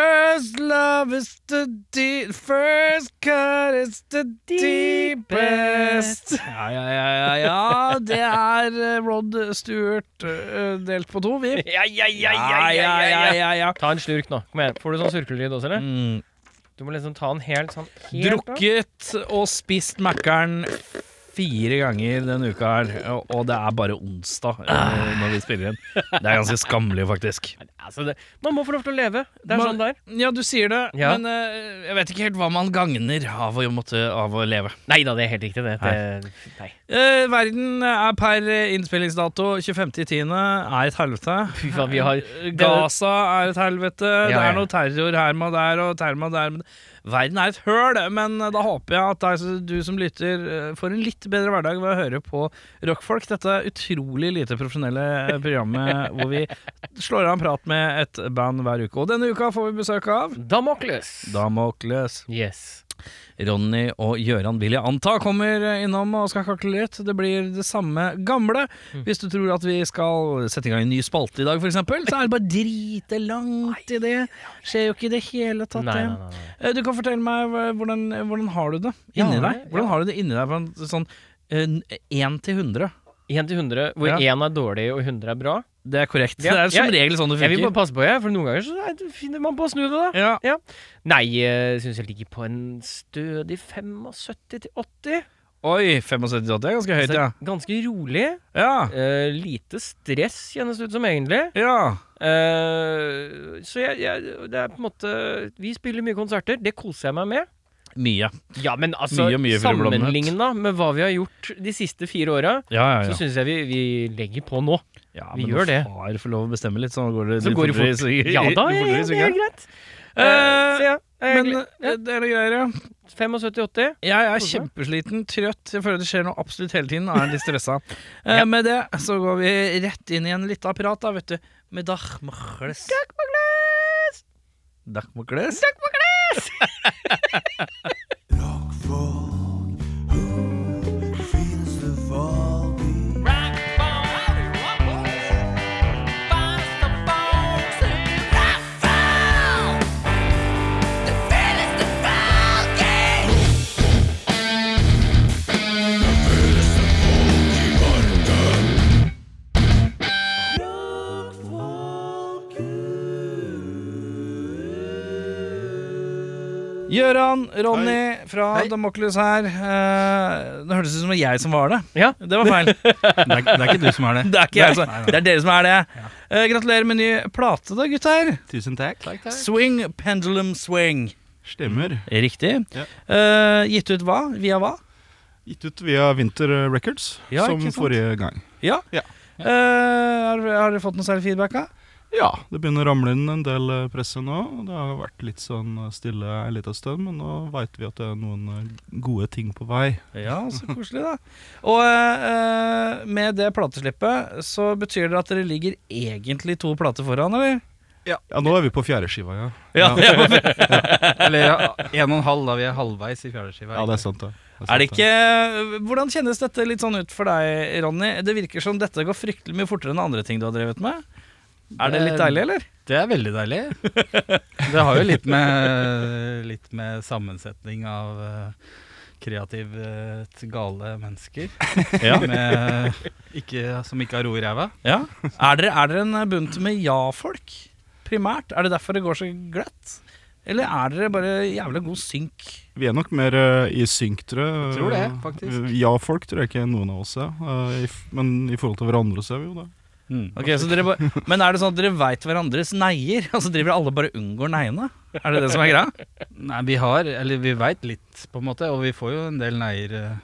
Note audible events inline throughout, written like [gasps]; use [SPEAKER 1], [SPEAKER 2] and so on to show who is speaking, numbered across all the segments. [SPEAKER 1] First love is the deep First cut is the deepest. Ja, ja, ja, ja, ja. Det er eh, Rod Stewart eh, delt på to, vi.
[SPEAKER 2] Ja, ja, ja,
[SPEAKER 1] ja, ja.
[SPEAKER 2] Ta en slurk nå. Kom igjen. Får du sånn surkelyd også, eller?
[SPEAKER 1] Mm.
[SPEAKER 2] Du må liksom ta den helt sånn helt av.
[SPEAKER 1] Drukket og spist Mækkern fire ganger denne uka her, og- og det er bare onsdag eh, når vi spiller inn. Det er ganske skammelig, faktisk.
[SPEAKER 2] Altså, det, man må få lov til å leve. Det er
[SPEAKER 1] Man-
[SPEAKER 2] sånn det er.
[SPEAKER 1] Ja, du sier det,
[SPEAKER 2] Ja.
[SPEAKER 1] men eh, jeg vet ikke helt hva man gagner av å, måtte, av å leve.
[SPEAKER 2] Nei da, det er helt riktig, det. det nei.
[SPEAKER 1] Eh, verden er per innspillingsdato 25.10. er et helvete.
[SPEAKER 2] Fy faen, vi har
[SPEAKER 1] Gaza er et helvete. Det
[SPEAKER 2] ja.
[SPEAKER 1] er noe terror her med der og terror med der. men- Verden er et høl, men da håper jeg at deg- du som lytter eh, får en litt bedre hverdag ved å høre på rockfolk. Dette utrolig lite profesjonelle
[SPEAKER 2] [laughs]
[SPEAKER 1] programmet hvor vi slår av en prat med et band hver uke. Og denne uka får vi besøk av
[SPEAKER 2] Damokles.
[SPEAKER 1] Damokles.
[SPEAKER 2] Yes.
[SPEAKER 1] Ronny og Gjøran vil jeg anta kommer eh, innom og skal kakle litt. Det blir det samme gamle.
[SPEAKER 2] Mm.
[SPEAKER 1] Hvis du tror at vi skal sette i gang en ny spalte i dag, f.eks., så er det bare drite langt i det. Skjer jo ikke i det hele tatt.
[SPEAKER 2] Nei, nei,
[SPEAKER 1] det.
[SPEAKER 2] nei,
[SPEAKER 1] Eh,
[SPEAKER 2] nei.
[SPEAKER 1] Du kan fortelle meg hva- hvordan, hvordan har du det
[SPEAKER 2] Ja,
[SPEAKER 1] inni
[SPEAKER 2] nei,
[SPEAKER 1] deg? Hvordan
[SPEAKER 2] ja.
[SPEAKER 1] har du det inni deg på en sånn én til hundre?
[SPEAKER 2] 1 til 100, hvor
[SPEAKER 1] Ja.
[SPEAKER 2] 1 er dårlig og 100 er bra.
[SPEAKER 1] Det er korrekt.
[SPEAKER 2] Ja,
[SPEAKER 1] det er som
[SPEAKER 2] jeg-
[SPEAKER 1] regel sånn det
[SPEAKER 2] Jeg vil bare
[SPEAKER 1] funker.
[SPEAKER 2] passe på, jeg, for noen ganger så er- finner man på å snu det, da.
[SPEAKER 1] Ja.
[SPEAKER 2] Nei, jeg syns jeg ligger på en stødig 75 til 80.
[SPEAKER 1] Oi, 75-80 er ganske høyt,
[SPEAKER 2] Så
[SPEAKER 1] ja.
[SPEAKER 2] Ganske rolig.
[SPEAKER 1] Ja.
[SPEAKER 2] Eh, lite stress, kjennes det ut som, egentlig.
[SPEAKER 1] ja.
[SPEAKER 2] Eh, så jeg, jeg Det er på en måte Vi spiller mye konserter. Det koser jeg meg med.
[SPEAKER 1] Mye.
[SPEAKER 2] Ja, men altså,
[SPEAKER 1] Mye, mye full blommet.
[SPEAKER 2] sammenligna med hva vi har gjort de siste fire åra,
[SPEAKER 1] Ja, ja,
[SPEAKER 2] så
[SPEAKER 1] ja.
[SPEAKER 2] syns jeg vi, vi legger på nå.
[SPEAKER 1] ja
[SPEAKER 2] vi
[SPEAKER 1] men
[SPEAKER 2] gjør
[SPEAKER 1] når
[SPEAKER 2] det.
[SPEAKER 1] Far får lov å bestemme litt, så går det
[SPEAKER 2] Så går det
[SPEAKER 1] fortere i
[SPEAKER 2] fort.
[SPEAKER 1] sving- [laughs]
[SPEAKER 2] Ja da,
[SPEAKER 1] litt
[SPEAKER 2] ja,
[SPEAKER 1] fortere i
[SPEAKER 2] ja, det
[SPEAKER 1] svingene.
[SPEAKER 2] er greit.
[SPEAKER 1] Eh,
[SPEAKER 2] Eh, så ja, jeg er
[SPEAKER 1] Men
[SPEAKER 2] glad- ja,
[SPEAKER 1] eh, det er noe greier, ja. [laughs]
[SPEAKER 2] 75-80.
[SPEAKER 1] Jeg er
[SPEAKER 2] Hvorfor?
[SPEAKER 1] kjempesliten, trøtt. Jeg føler det skjer noe absolutt hele tiden. og Jeg er litt [laughs] stressa. Eh, Med det så går vi rett inn i en lita prat, da, vet du. Med Dachmachles. Dachmachles. Gøran, Ronny fra
[SPEAKER 3] Hei.
[SPEAKER 1] Damocles her. Eh, Det hørtes ut som det var jeg som var det.
[SPEAKER 2] Ja.
[SPEAKER 1] Det var [laughs] feil.
[SPEAKER 3] Det er, det er ikke du som er det.
[SPEAKER 1] Det er ikke jeg som Det er dere som er det. Eh, Gratulerer med ny plate, da, gutter.
[SPEAKER 3] Tusen takk.
[SPEAKER 1] Swing, pendulum swing. Mm.
[SPEAKER 3] Stemmer.
[SPEAKER 1] Riktig.
[SPEAKER 3] Ja.
[SPEAKER 1] Eh, gitt ut hva? Via hva?
[SPEAKER 3] Gitt ut via Winter Records,
[SPEAKER 1] Ja,
[SPEAKER 3] som
[SPEAKER 1] ikke sant.
[SPEAKER 3] forrige gang.
[SPEAKER 1] Ja.
[SPEAKER 3] Ja.
[SPEAKER 1] Eh, har, har dere fått noe særlig feedback? da?
[SPEAKER 3] Ja, det begynner å ramle inn en del eh, presse nå. og Det har vært litt sånn eh, stille en liten stund, men nå veit vi at det er noen eh, gode ting på vei.
[SPEAKER 1] Ja, så koselig, da. Og eh, med det plateslippet så betyr det at dere ligger egentlig to plater foran, eller?
[SPEAKER 3] Ja, nå er vi på fjerdeskiva, ja.
[SPEAKER 1] [laughs] det er,
[SPEAKER 4] Eller ja, en og en halv, da. Vi er halvveis i fjerdeskiva.
[SPEAKER 3] Ja, det er sant, det.
[SPEAKER 1] det ikke eh, Hvordan kjennes dette litt sånn ut for deg, Ronny? Det virker som dette går fryktelig mye fortere enn andre ting du har drevet med. Er det litt deilig, eller?
[SPEAKER 4] Det er veldig deilig. [laughs] Det har jo litt med, litt med sammensetning av eh, kreativt gale mennesker
[SPEAKER 1] Ja.
[SPEAKER 4] med, ikke, som ikke har ro i ræva.
[SPEAKER 1] ja. Er, dere, er dere en bunt med ja-folk, primært? Er det derfor det går så glatt? Eller er dere bare jævla god synk?
[SPEAKER 3] Vi er nok mer eh, i synk, tror jeg.
[SPEAKER 4] Jeg tror det, faktisk.
[SPEAKER 3] Ja-folk tror jeg ikke noen av oss er. eh, i f- Men i forhold til hverandre så er vi jo det.
[SPEAKER 1] Ok, så dere bare, Men er det sånn at dere veit hverandres neier? [laughs] Altså driver alle bare og unngår neiene? Er det det som er greia?
[SPEAKER 4] Nei, vi har Eller vi veit litt, på en måte, og vi får jo en del neier. eh.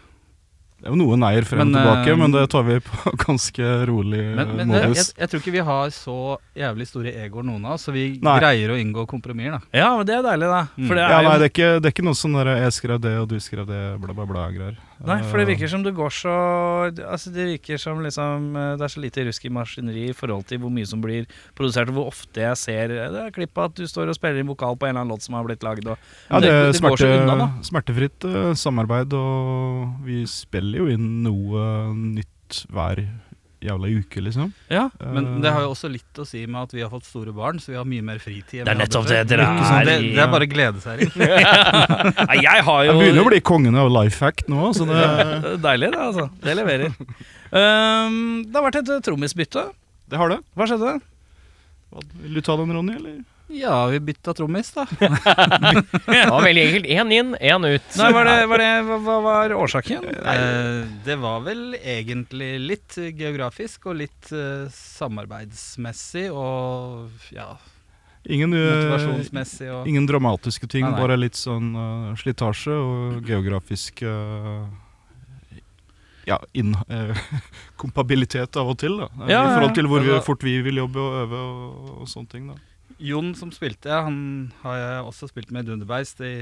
[SPEAKER 3] Det er jo noe neier frem
[SPEAKER 4] Men,
[SPEAKER 3] og tilbake,
[SPEAKER 4] eh,
[SPEAKER 3] men det tar vi på [laughs] ganske rolig eh,
[SPEAKER 4] Men, men det, jeg,
[SPEAKER 3] modus.
[SPEAKER 4] jeg tror ikke vi har så jævlig store egoer, noen av oss, så vi
[SPEAKER 3] Nei.
[SPEAKER 4] greier å inngå kompromisser, da.
[SPEAKER 1] Ja, men det er deilig, da. For det,
[SPEAKER 3] Ja,
[SPEAKER 1] er
[SPEAKER 3] nei,
[SPEAKER 1] jo,
[SPEAKER 3] det er, ikke, det er ikke noe sånn der 'jeg skrev det, og du skrev det', bla, bla, bla-greier.
[SPEAKER 1] nei, for det virker som du går så Altså Det virker som liksom eh, det er så lite rusk i maskineriet i forhold til hvor mye som blir produsert, og hvor ofte jeg ser eh, det er klipp av at du står og spiller inn vokal på en eller annen låt som har blitt lagd. og-
[SPEAKER 3] Ja, det er
[SPEAKER 1] det går så
[SPEAKER 3] smerte,
[SPEAKER 1] unna, da.
[SPEAKER 3] smertefritt eh, samarbeid, og vi spiller jo inn noe nytt hver jævla uke, liksom.
[SPEAKER 1] Ja.
[SPEAKER 3] Eh,
[SPEAKER 4] Men det har jo også litt å si med at vi har fått store barn, så vi har mye mer
[SPEAKER 1] Det er
[SPEAKER 4] fritid. enn vi hadde
[SPEAKER 1] nettopp
[SPEAKER 4] før.
[SPEAKER 1] det, dere
[SPEAKER 3] sånn,
[SPEAKER 4] Ikke sant?
[SPEAKER 1] er
[SPEAKER 4] det,
[SPEAKER 1] i-
[SPEAKER 4] det er bare å glede seg litt.
[SPEAKER 1] Nei, jeg har jo
[SPEAKER 3] Jeg begynner å bli sånn, kongen av life hack nå, så det
[SPEAKER 1] Det er Deilig, det, altså. Det leverer. Ehm, det har vært et eh, trommisbytte.
[SPEAKER 3] Det har det.
[SPEAKER 1] Hva skjedde?
[SPEAKER 3] Vil du ta den, Ronny, eller?
[SPEAKER 4] [laughs] Ja, vi bytta trommis, da.
[SPEAKER 2] Det var veldig enkelt. Én inn, én ut.
[SPEAKER 1] Nei, var det, var det, hva, hva var årsaken?
[SPEAKER 4] Eh, det var vel egentlig litt eh, geografisk og litt eh, samarbeidsmessig og ja,
[SPEAKER 3] Ingen, eh,
[SPEAKER 4] motivasjonsmessig og
[SPEAKER 3] ingen dramatiske ting,
[SPEAKER 4] Nei, nei.
[SPEAKER 3] bare litt sånn eh, slitasje og geografisk eh, Ja, inn, eh, [laughs] kompabilitet av og til, da.
[SPEAKER 1] Ja,
[SPEAKER 3] Eh, I
[SPEAKER 1] ja, Altså-
[SPEAKER 3] forhold til hvor vi,
[SPEAKER 4] ja.
[SPEAKER 3] fort vi vil jobbe og øve og, og sånne ting, da.
[SPEAKER 4] Jon som spilte, han har jeg også spilt med i Dunderbeist i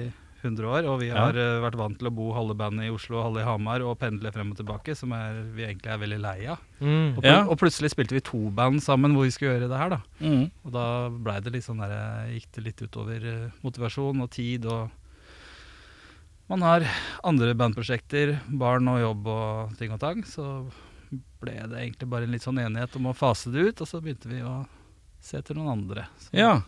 [SPEAKER 4] 100 år. Og vi
[SPEAKER 1] Ja.
[SPEAKER 4] har eh, vært vant til å bo halve bandet i Oslo og halve i Hamar og pendle frem og tilbake, som er, vi egentlig er veldig lei av.
[SPEAKER 2] Mm.
[SPEAKER 4] Og, pl
[SPEAKER 1] Ja.
[SPEAKER 4] og plutselig spilte vi to band sammen hvor vi skulle gjøre det her, da.
[SPEAKER 1] Mm.
[SPEAKER 4] Og da blei det litt sånn der eh, Gikk det litt utover eh, motivasjon og tid og Man har andre bandprosjekter, barn og jobb og ting og tang, så ble det egentlig bare en litt sånn enighet om å fase det ut, og så begynte vi å se etter noen andre. Så-
[SPEAKER 1] Ja.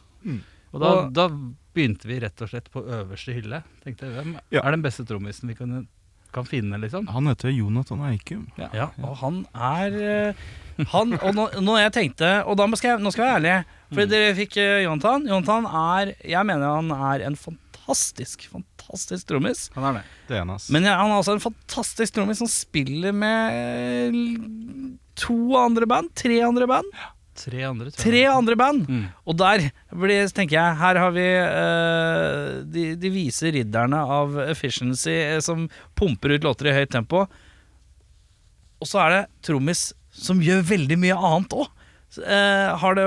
[SPEAKER 4] og da,
[SPEAKER 1] Og-
[SPEAKER 4] da begynte vi rett og slett på øverste hylle. Tenkte jeg, Hvem
[SPEAKER 3] Ja.
[SPEAKER 4] er den beste trommisen vi kan, kan finne, liksom?
[SPEAKER 3] Han heter Jonathan Eikum.
[SPEAKER 4] Ja.
[SPEAKER 1] Ja, og han er eh, han, og nå, nå jeg tenkte Og da skal jeg, nå skal jeg være ærlig.
[SPEAKER 3] Mm.
[SPEAKER 1] For dere fikk eh, Jonathan. Jonathan er Jeg mener han er en fantastisk, fantastisk trommis.
[SPEAKER 4] Han er det.
[SPEAKER 3] Det er han, ass.
[SPEAKER 1] Men jeg- han er også en fantastisk trommis som spiller med eh, to andre band. Tre andre band.
[SPEAKER 4] Tre andre, tror
[SPEAKER 1] Tre
[SPEAKER 4] jeg.
[SPEAKER 1] andre band!
[SPEAKER 4] Mm.
[SPEAKER 1] Og der blir, tenker jeg, her har vi eh, de, de vise ridderne av efficiency eh, som pumper ut låter i høyt tempo. Og så er det trommis som gjør veldig mye annet òg. har, det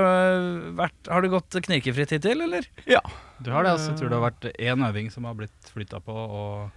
[SPEAKER 1] vært- har det gått knirkefritt hittil, eller?
[SPEAKER 4] Du har det, altså. Jeg tror det har vært én øving som har blitt flytta på, og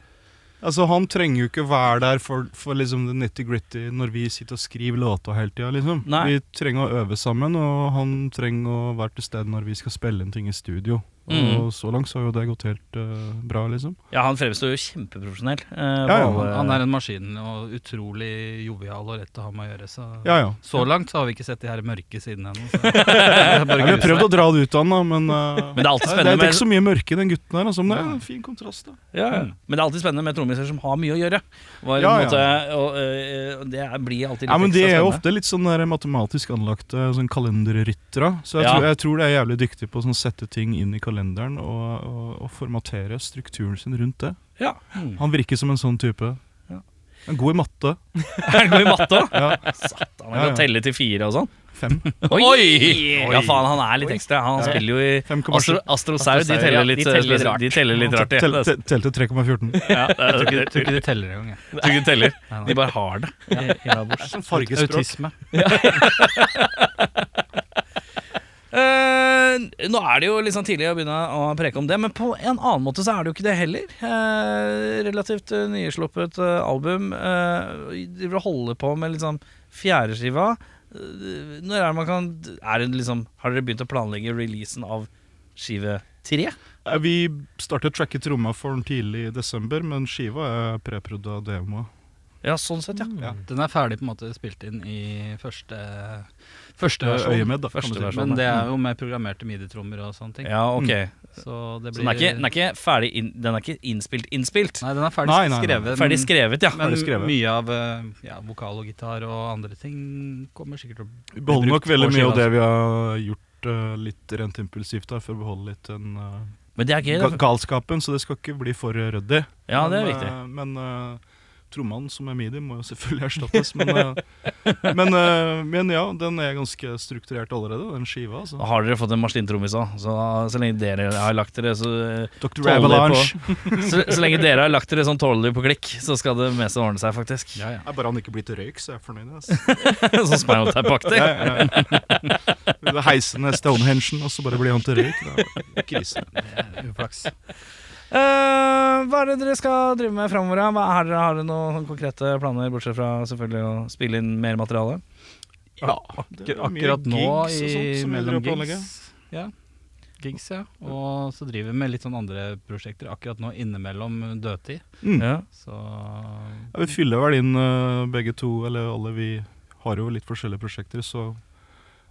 [SPEAKER 3] Altså, han trenger jo ikke være der for, for liksom det nitty-gritty når vi sitter og skriver låter hele tida. Liksom.
[SPEAKER 1] Nei.
[SPEAKER 3] Vi trenger å øve sammen, og han trenger å være til stede når vi skal spille en ting i studio.
[SPEAKER 1] Mm.
[SPEAKER 3] Og så langt så har jo det gått helt eh, bra, liksom.
[SPEAKER 1] Ja, han fremstår jo kjempeprofesjonell. eh,
[SPEAKER 3] Ja, ja,
[SPEAKER 1] på
[SPEAKER 4] han,
[SPEAKER 1] alle-
[SPEAKER 4] han er en maskin og utrolig jovial og lett å ha med å gjøre. Så,
[SPEAKER 3] Ja, ja.
[SPEAKER 4] så langt så har vi ikke sett de her mørke sidene ennå.
[SPEAKER 1] [laughs]
[SPEAKER 4] så- [laughs] Det er bare
[SPEAKER 3] Nei, vi har prøvd å dra det ut av han, da, men, eh,
[SPEAKER 1] Men det er alltid
[SPEAKER 3] det
[SPEAKER 1] spennende
[SPEAKER 3] er
[SPEAKER 1] med-
[SPEAKER 3] ikke så mye mørke i den gutten her, altså, men det er en fin kontrast. da.
[SPEAKER 1] Ja, ja. Men det er alltid spennende med trommiser som har mye å gjøre. Var, en
[SPEAKER 3] Ja, ja.
[SPEAKER 1] måte- og, eh, og det er- blir alltid litt
[SPEAKER 3] Ja, men De
[SPEAKER 1] ekstra
[SPEAKER 3] er jo
[SPEAKER 1] spennende.
[SPEAKER 3] ofte litt sånn der matematisk anlagte sånn kalenderryttere. Så jeg,
[SPEAKER 1] Ja.
[SPEAKER 3] tror, jeg tror de er jævlig dyktige på å sånn sette ting inn i kalenderen og, og, og formatere strukturen sin rundt det.
[SPEAKER 1] Ja. [laughs]
[SPEAKER 4] Mm.
[SPEAKER 3] Han virker som en sånn type.
[SPEAKER 1] Ja.
[SPEAKER 3] En god i matte.
[SPEAKER 1] Er han god i matte òg? [laughs]
[SPEAKER 3] Ja,
[SPEAKER 1] Satan, han
[SPEAKER 3] Ja,
[SPEAKER 1] kan
[SPEAKER 3] ja.
[SPEAKER 1] telle til fire og sånn.
[SPEAKER 3] fem.
[SPEAKER 1] [laughs] Oi! Ja, faen, han er litt ekstra. Han
[SPEAKER 3] Ja.
[SPEAKER 1] spiller jo i
[SPEAKER 3] 5,7.
[SPEAKER 1] Astro, Astrosaur. De
[SPEAKER 2] Astrosaur, ja,
[SPEAKER 1] teller litt, eh,
[SPEAKER 2] de teller litt rart.
[SPEAKER 1] de teller litt rart,
[SPEAKER 3] Tel-
[SPEAKER 1] ja.
[SPEAKER 3] tel- Telte 3,14.
[SPEAKER 1] [laughs] ja det er-
[SPEAKER 4] Jeg tror ikke de teller engang, jeg.
[SPEAKER 1] tror ikke de
[SPEAKER 3] [laughs]
[SPEAKER 1] teller.
[SPEAKER 4] Nei,
[SPEAKER 1] De
[SPEAKER 4] nei.
[SPEAKER 1] bare har det. sånn
[SPEAKER 3] Som
[SPEAKER 4] Autisme.
[SPEAKER 1] Eh, nå er det jo litt sånn tidlig å begynne å preke om det, men på en annen måte så er det jo ikke det heller. Eh, relativt eh, nysluppet eh, album. Eh, de vil holde på med liksom fjerdeskiva. Eh, når er det man kan er det liksom, Har dere begynt å planlegge releasen av skive tre?
[SPEAKER 3] Eh, Vi startet tracket tromma for den tidlig i desember, men skiva er preprod av demoa.
[SPEAKER 1] Ja, sånn sett, ja.
[SPEAKER 3] Ja.
[SPEAKER 4] Den er ferdig på en måte spilt inn i første, første
[SPEAKER 3] Det er sånn,
[SPEAKER 4] versjon.
[SPEAKER 3] øyemed, da.
[SPEAKER 1] sånn Første
[SPEAKER 3] kan du si.
[SPEAKER 1] versjon,
[SPEAKER 4] Men det er jo med programmerte miditrommer og sånne ting.
[SPEAKER 1] Ja, ok
[SPEAKER 3] Mm.
[SPEAKER 4] Så
[SPEAKER 1] Så
[SPEAKER 4] det blir
[SPEAKER 1] den er ikke, den er ikke ferdig inn, Den er ikke innspilt innspilt?
[SPEAKER 4] Nei, den er ferdig
[SPEAKER 3] Nei, nei, nei.
[SPEAKER 4] skrevet.
[SPEAKER 1] Ferdig skrevet, ja.
[SPEAKER 4] Men,
[SPEAKER 3] Ferdig skrevet.
[SPEAKER 4] men mye av eh, ja, vokal og gitar og andre ting kommer sikkert til å
[SPEAKER 3] Vi beholder nok
[SPEAKER 4] brukt
[SPEAKER 3] veldig
[SPEAKER 4] på
[SPEAKER 3] mye
[SPEAKER 4] skiva,
[SPEAKER 3] av det vi har gjort eh, litt rent impulsivt der, for å beholde litt den eh,
[SPEAKER 1] Men det er gøy.
[SPEAKER 3] ga
[SPEAKER 1] da.
[SPEAKER 3] galskapen, så det skal ikke bli for ryddig.
[SPEAKER 1] Ja, det er
[SPEAKER 3] Men,
[SPEAKER 1] viktig.
[SPEAKER 3] eh, Men eh, trommaen som er midi, må jo selvfølgelig [laughs] erstattes. Men, eh, men, eh, men ja, den er ganske strukturert allerede, den skiva. Altså.
[SPEAKER 1] Da har dere fått en maskintrommis òg, så, så lenge dere har lagt dere så,
[SPEAKER 3] Dr.
[SPEAKER 1] tåler
[SPEAKER 3] Avalanche.
[SPEAKER 1] så, så lenge dere har lagt dere sånn tålelig på klikk, så skal det meste ordne seg, faktisk.
[SPEAKER 4] Ja, ja.
[SPEAKER 3] Er bare han ikke blir til røyk, så er jeg fornøyd. Altså.
[SPEAKER 1] [laughs] sånn Spinal Tap-aktig.
[SPEAKER 3] Ja, ja, ja. Heisen er Stonehenge, og så bare blir han til røyk. Det er krise.
[SPEAKER 4] Uflaks.
[SPEAKER 1] Eh, hva er det dere skal drive med framover? Hva er dere- Har dere noen konkrete planer, bortsett fra selvfølgelig å spille inn mer materiale?
[SPEAKER 4] Ja,
[SPEAKER 3] det er mye
[SPEAKER 4] akkurat nå
[SPEAKER 3] gigs og sånt
[SPEAKER 4] i
[SPEAKER 3] som jeg
[SPEAKER 4] mellom
[SPEAKER 3] driver og planlegger.
[SPEAKER 4] gigs. Ja. Gigs, ja. Og så driver vi med litt sånn andre prosjekter akkurat nå innimellom dødtid.
[SPEAKER 3] Mm.
[SPEAKER 1] Ja.
[SPEAKER 4] Så
[SPEAKER 3] Ja, vi fyller vel inn eh, begge to, eller alle vi har jo litt forskjellige prosjekter, så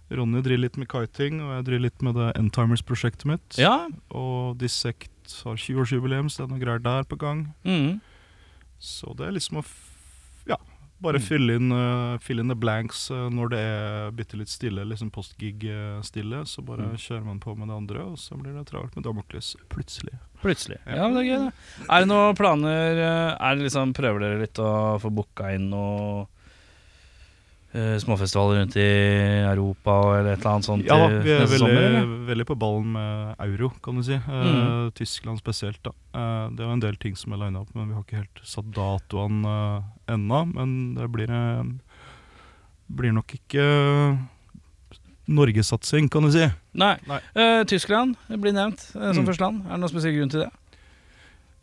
[SPEAKER 3] Ronny driver litt med kiting, og jeg driver litt med det Endtimers-prosjektet mitt.
[SPEAKER 1] Ja.
[SPEAKER 3] Og Dissect har 20-årsjubileum, så det er noe greier der på gang.
[SPEAKER 1] Mm.
[SPEAKER 3] Så det er liksom å f ja,
[SPEAKER 1] Mm.
[SPEAKER 3] bare fylle inn, eh, fill in the blanks eh, når det er bitte litt stille, liksom postgig-stille. Så bare
[SPEAKER 1] Mm.
[SPEAKER 3] kjører man på med det andre, og så blir det travelt med Damoklys plutselig.
[SPEAKER 1] Plutselig.
[SPEAKER 3] Ja.
[SPEAKER 1] Ja, men det er gøy, det. Er det noen planer eh, er det liksom, Prøver dere litt å få booka inn noen eh, småfestivaler rundt i Europa og- eller et eller annet sånt
[SPEAKER 3] Ja,
[SPEAKER 1] i
[SPEAKER 3] vi er
[SPEAKER 1] neste sommer?
[SPEAKER 3] veldig,
[SPEAKER 1] eller?
[SPEAKER 3] veldig på ballen med euro, kan du si. Eh,
[SPEAKER 1] Mm.
[SPEAKER 3] Tyskland spesielt, da. Eh, det er jo en del ting som er lina opp, men vi har ikke helt satt datoene eh, ennå. Men det blir, eh, blir nok ikke Norgesatsing, kan du si.
[SPEAKER 1] Nei.
[SPEAKER 3] Nei.
[SPEAKER 1] Eh, Tyskland blir nevnt eh, som
[SPEAKER 3] Mm.
[SPEAKER 1] første land. Er det noen spesiell grunn til det?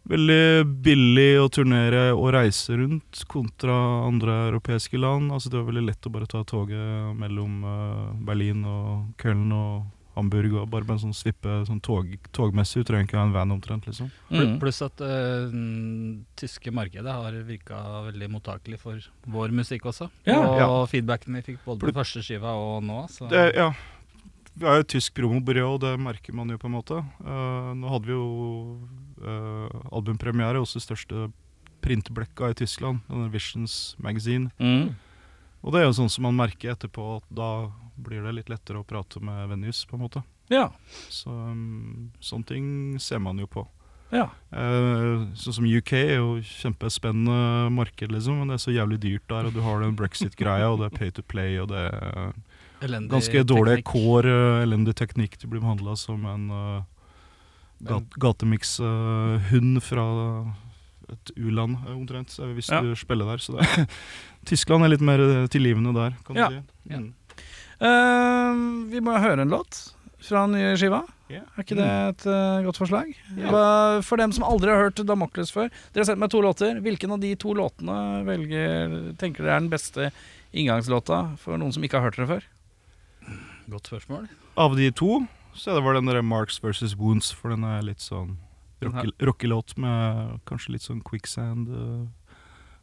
[SPEAKER 3] Veldig billig å turnere og reise rundt kontra andre europeiske land. Altså Det var veldig lett å bare ta toget mellom eh, Berlin og Köln og Hamburg. og Bare med en sånn svippe sånn tog, togmessig. Du trenger ikke ha en van omtrent. liksom.
[SPEAKER 1] Mm.
[SPEAKER 4] Pluss at eh, den tyske markedet har virka veldig mottakelig for vår musikk også.
[SPEAKER 1] Ja.
[SPEAKER 4] og
[SPEAKER 3] Ja.
[SPEAKER 4] feedbacken vi fikk både på første skiva og nå. Så.
[SPEAKER 3] Det, ja, Vi er jo et tysk promobyrå, og det merker man jo på en måte. Eh, nå hadde vi jo eh, albumpremiere hos det største printblekka i Tyskland, denne Visions Magazine.
[SPEAKER 1] Mm.
[SPEAKER 3] Og det er jo sånn som man merker etterpå, at da blir det litt lettere å prate med venues, på en måte.
[SPEAKER 1] Ja.
[SPEAKER 3] Så um, sånne ting ser man jo på.
[SPEAKER 1] ja.
[SPEAKER 3] Eh, sånn som UK er jo kjempespennende marked, liksom, men det er så jævlig dyrt der, og du har den brexit-greia, og det er pay to play, og det er
[SPEAKER 4] Elendig
[SPEAKER 3] ganske dårlige
[SPEAKER 4] teknikk.
[SPEAKER 3] kår, eh, elendig teknikk. Du blir behandla som en uh, gatemix-hund fra et u-land, eh, omtrent, eh, hvis
[SPEAKER 1] Ja.
[SPEAKER 3] du spiller der. Så det er
[SPEAKER 4] [laughs]
[SPEAKER 3] Tyskland er litt mer eh, tilgivende der, kan
[SPEAKER 1] Ja.
[SPEAKER 3] du si.
[SPEAKER 4] Ja.
[SPEAKER 3] Mm.
[SPEAKER 1] Eh, vi må høre en låt fra den nye skiva.
[SPEAKER 3] Ja. Mm.
[SPEAKER 1] Er ikke det et eh, godt forslag?
[SPEAKER 3] Ja.
[SPEAKER 1] Hva- For dem som aldri har hørt Damocles før, dere har sendt meg to låter. Hvilken av de to låtene velger, tenker dere er den beste inngangslåta for noen som ikke har hørt dere før?
[SPEAKER 4] Godt spørsmål.
[SPEAKER 3] Av de to så er det var den der Marks versus Wounds, for den er litt sånn
[SPEAKER 4] Den her.
[SPEAKER 3] rocke- rockelåt med kanskje litt sånn quicksand uh,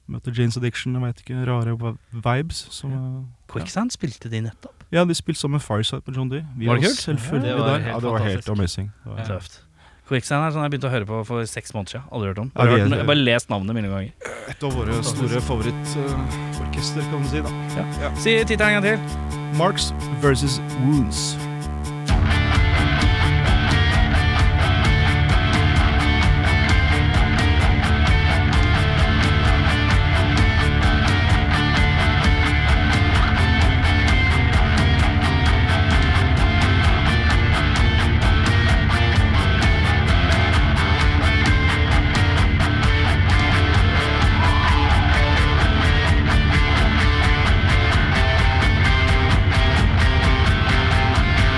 [SPEAKER 3] Møter Janes Addiction, jeg veit ikke, rare va- vibes. Som, eh,
[SPEAKER 1] Quicksand spilte de nettopp.
[SPEAKER 3] ja. de spilte sammen med Fireside med John D. Vi
[SPEAKER 1] Var det
[SPEAKER 3] var
[SPEAKER 1] kult?
[SPEAKER 3] Selvfølgelig
[SPEAKER 4] Ja, det var
[SPEAKER 3] der.
[SPEAKER 4] helt
[SPEAKER 3] Ja, det var helt
[SPEAKER 4] fantastisk.
[SPEAKER 3] amazing. Det var,
[SPEAKER 4] Ja.
[SPEAKER 1] Tøft. Quicksand er sånn jeg begynte å høre på for seks måneder siden. Aldri hørt om.
[SPEAKER 3] Ja,
[SPEAKER 1] Bare,
[SPEAKER 3] vi
[SPEAKER 1] hørt, den-
[SPEAKER 3] er-
[SPEAKER 1] jeg har bare lest navnet mine ganger.
[SPEAKER 3] Et av våre store favorittorkester, kan du si. da
[SPEAKER 1] Si tittelen en gang til.
[SPEAKER 3] Marks versus Wounds.
[SPEAKER 5] Thank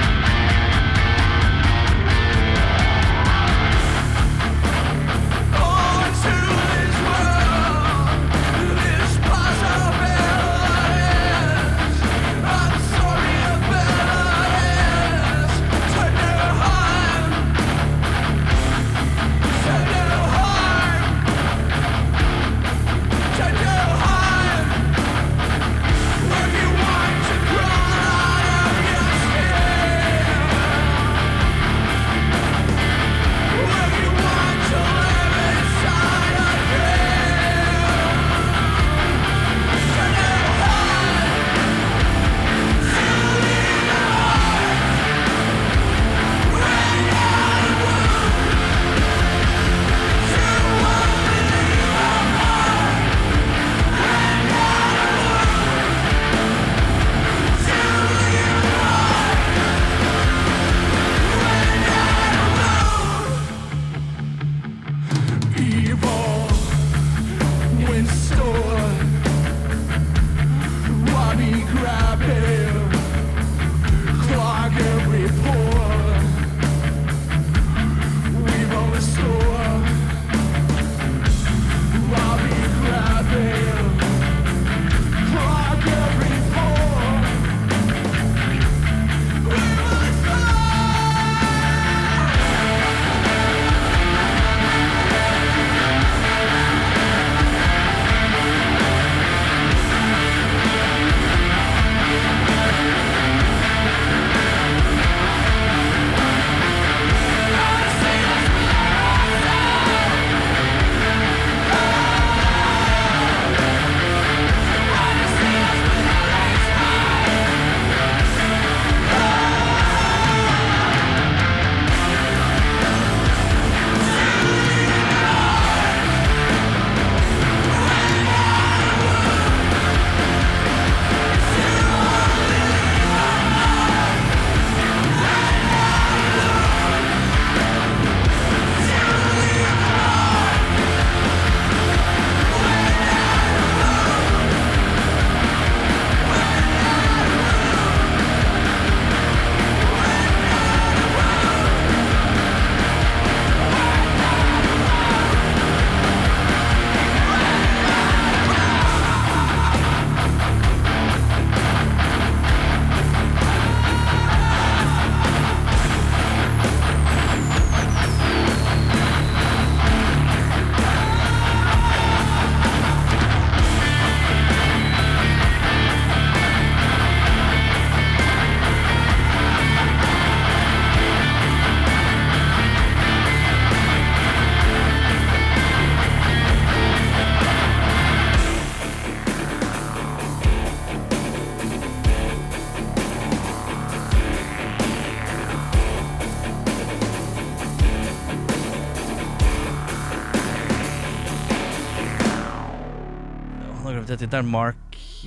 [SPEAKER 1] til tittelen Mark.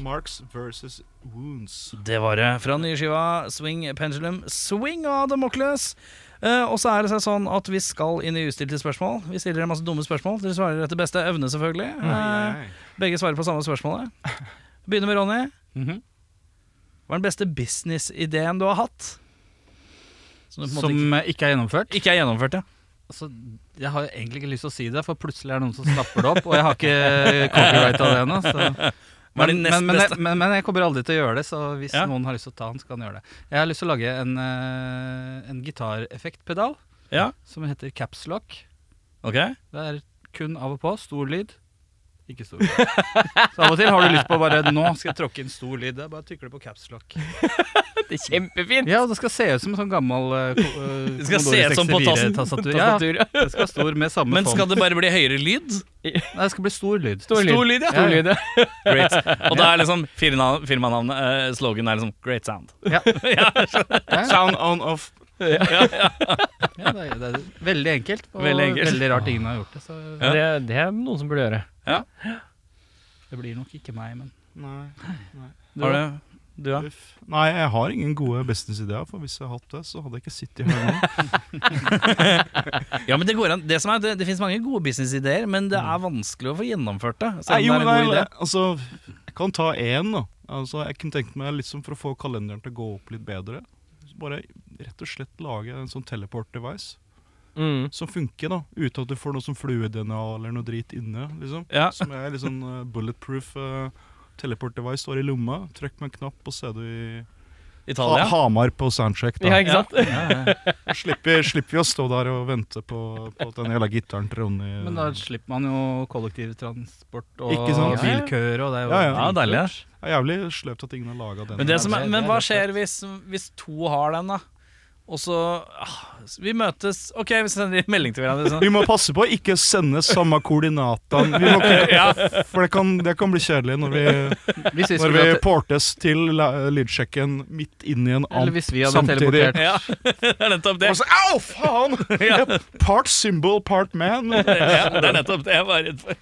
[SPEAKER 3] Marks versus Wounds.
[SPEAKER 1] Det var det. Fra nye skiva Swing Pendulum. Swing av Democles! Eh, og så er det sånn at vi skal inn i ustilte spørsmål. Vi stiller en masse dumme spørsmål. Dere svarer etter beste evne, selvfølgelig.
[SPEAKER 4] Mm,
[SPEAKER 1] Eh, begge svarer på samme
[SPEAKER 4] [laughs]
[SPEAKER 1] spørsmålet. Begynner med Ronny.
[SPEAKER 4] Mhm.
[SPEAKER 1] Hva er den beste businessideen du har hatt? Som du på en måte
[SPEAKER 4] Som eh, ikke er gjennomført.
[SPEAKER 1] ikke, ikke er gjennomført, ja.
[SPEAKER 4] Altså, jeg har egentlig ikke lyst til å si det, for plutselig er det noen som snapper det opp. Og jeg har ikke copyright av det ennå. [laughs] så-
[SPEAKER 1] Hva er
[SPEAKER 4] Men,
[SPEAKER 1] din
[SPEAKER 4] men,
[SPEAKER 1] nest
[SPEAKER 4] men,
[SPEAKER 1] beste?
[SPEAKER 4] jeg- men, men jeg kommer aldri til å gjøre det, så hvis
[SPEAKER 1] Ja.
[SPEAKER 4] noen har lyst til å ta den, så kan han gjøre det. Jeg har lyst til å lage en, eh, en gitareffektpedal
[SPEAKER 1] Ja.
[SPEAKER 4] som heter capslock.
[SPEAKER 1] Ok.
[SPEAKER 4] Det er kun av og på. Stor lyd. Ikke stor lyd. Så av og til har du lyst på bare Nå skal jeg tråkke inn stor lyd. Det er bare å tykle på capslock.
[SPEAKER 2] [laughs] Det er kjempefint!
[SPEAKER 4] Ja, og det skal se ut som en sånn gammel eh, ko- eh,
[SPEAKER 1] Det skal se ut som på
[SPEAKER 4] Commodore
[SPEAKER 1] tassen-
[SPEAKER 4] 64-tastatur. Ja,
[SPEAKER 2] Tastatur, ja.
[SPEAKER 4] det skal være stor med samme
[SPEAKER 1] Men
[SPEAKER 4] font.
[SPEAKER 1] skal det bare bli høyere lyd?
[SPEAKER 4] Nei, det skal bli stor lyd.
[SPEAKER 2] Stor lyd.
[SPEAKER 1] Stor lyd, ja.
[SPEAKER 2] Stor lyd, ja.
[SPEAKER 1] Great. Og da er liksom firma- firmanavnet eh, Slogan er liksom 'Great Sound'.
[SPEAKER 4] Ja. Ja, ja.
[SPEAKER 3] Sound on off.
[SPEAKER 4] [laughs] Ja, det, er, det er veldig enkelt, og veldig,
[SPEAKER 1] Veldig enkelt.
[SPEAKER 4] rart ingen har gjort det. Så
[SPEAKER 1] Ja.
[SPEAKER 2] Det, det er noen som burde gjøre.
[SPEAKER 4] det blir nok ikke meg, men
[SPEAKER 3] Nei.
[SPEAKER 1] Har du? Du, ja.
[SPEAKER 3] Uff. Nei, jeg har ingen gode businessideer, for hvis jeg hadde hatt det, så hadde jeg ikke sittet her nå.
[SPEAKER 1] ja, men Det går an Det som er, det, det finnes mange gode businessideer, men det er vanskelig å få gjennomført det.
[SPEAKER 3] Nei,
[SPEAKER 1] Selv
[SPEAKER 3] jo,
[SPEAKER 1] om det er en god
[SPEAKER 3] nei,
[SPEAKER 1] idé.
[SPEAKER 3] altså, jeg kan ta én, da. Altså, jeg kunne tenkt meg, liksom for å få kalenderen til å gå opp litt bedre, så bare rett og slett lage en sånn teleport-device
[SPEAKER 2] Mm.
[SPEAKER 3] som funker, da. Uten at du får noe som flue-DNA eller noe drit inne, liksom.
[SPEAKER 1] Ja.
[SPEAKER 3] Som er litt sånn eh, bulletproof eh, teleport-device, står i lomma. Trykk med en knapp, og så er du i ha
[SPEAKER 1] Italia.
[SPEAKER 3] Hamar på soundcheck, da.
[SPEAKER 2] Ja, ikke sant?
[SPEAKER 3] Da Slipper, slipper vi å stå der og vente på, på at den jævla gitaren til Ronny
[SPEAKER 4] [laughs] Men da slipper man jo kollektivtransport og
[SPEAKER 3] Ikke sant?
[SPEAKER 4] bilkøer, og det er jo
[SPEAKER 3] Ja, ja.
[SPEAKER 1] Ja, deilig. ja.
[SPEAKER 3] Det er jævlig sløvt at ingen har laga den.
[SPEAKER 1] Men, det som
[SPEAKER 4] det
[SPEAKER 1] er,
[SPEAKER 4] er
[SPEAKER 1] men hva
[SPEAKER 4] rett og
[SPEAKER 1] skjer hvis, hvis to har den, da? Og så ah, Vi møtes OK, vi sender en melding til hverandre.
[SPEAKER 3] [laughs]
[SPEAKER 1] Sånn.
[SPEAKER 3] Vi må passe på å ikke sende samme koordinatene, Vi må ikke- for det kan, det kan bli kjedelig når vi,
[SPEAKER 4] Hvis vi
[SPEAKER 3] når
[SPEAKER 4] skulle
[SPEAKER 3] vi
[SPEAKER 4] hatt
[SPEAKER 3] portes til la- lydsjekken midt inni en
[SPEAKER 4] eller
[SPEAKER 3] amp.
[SPEAKER 4] hvis vi hadde
[SPEAKER 3] samtidig.
[SPEAKER 4] teleportert
[SPEAKER 1] [laughs] Ja, det er nettopp det.
[SPEAKER 3] Og så, Au, faen!
[SPEAKER 1] [laughs] Ja.
[SPEAKER 3] Part symbol, part
[SPEAKER 1] [laughs]
[SPEAKER 3] man.
[SPEAKER 1] Ja, det er nettopp det jeg var redd for.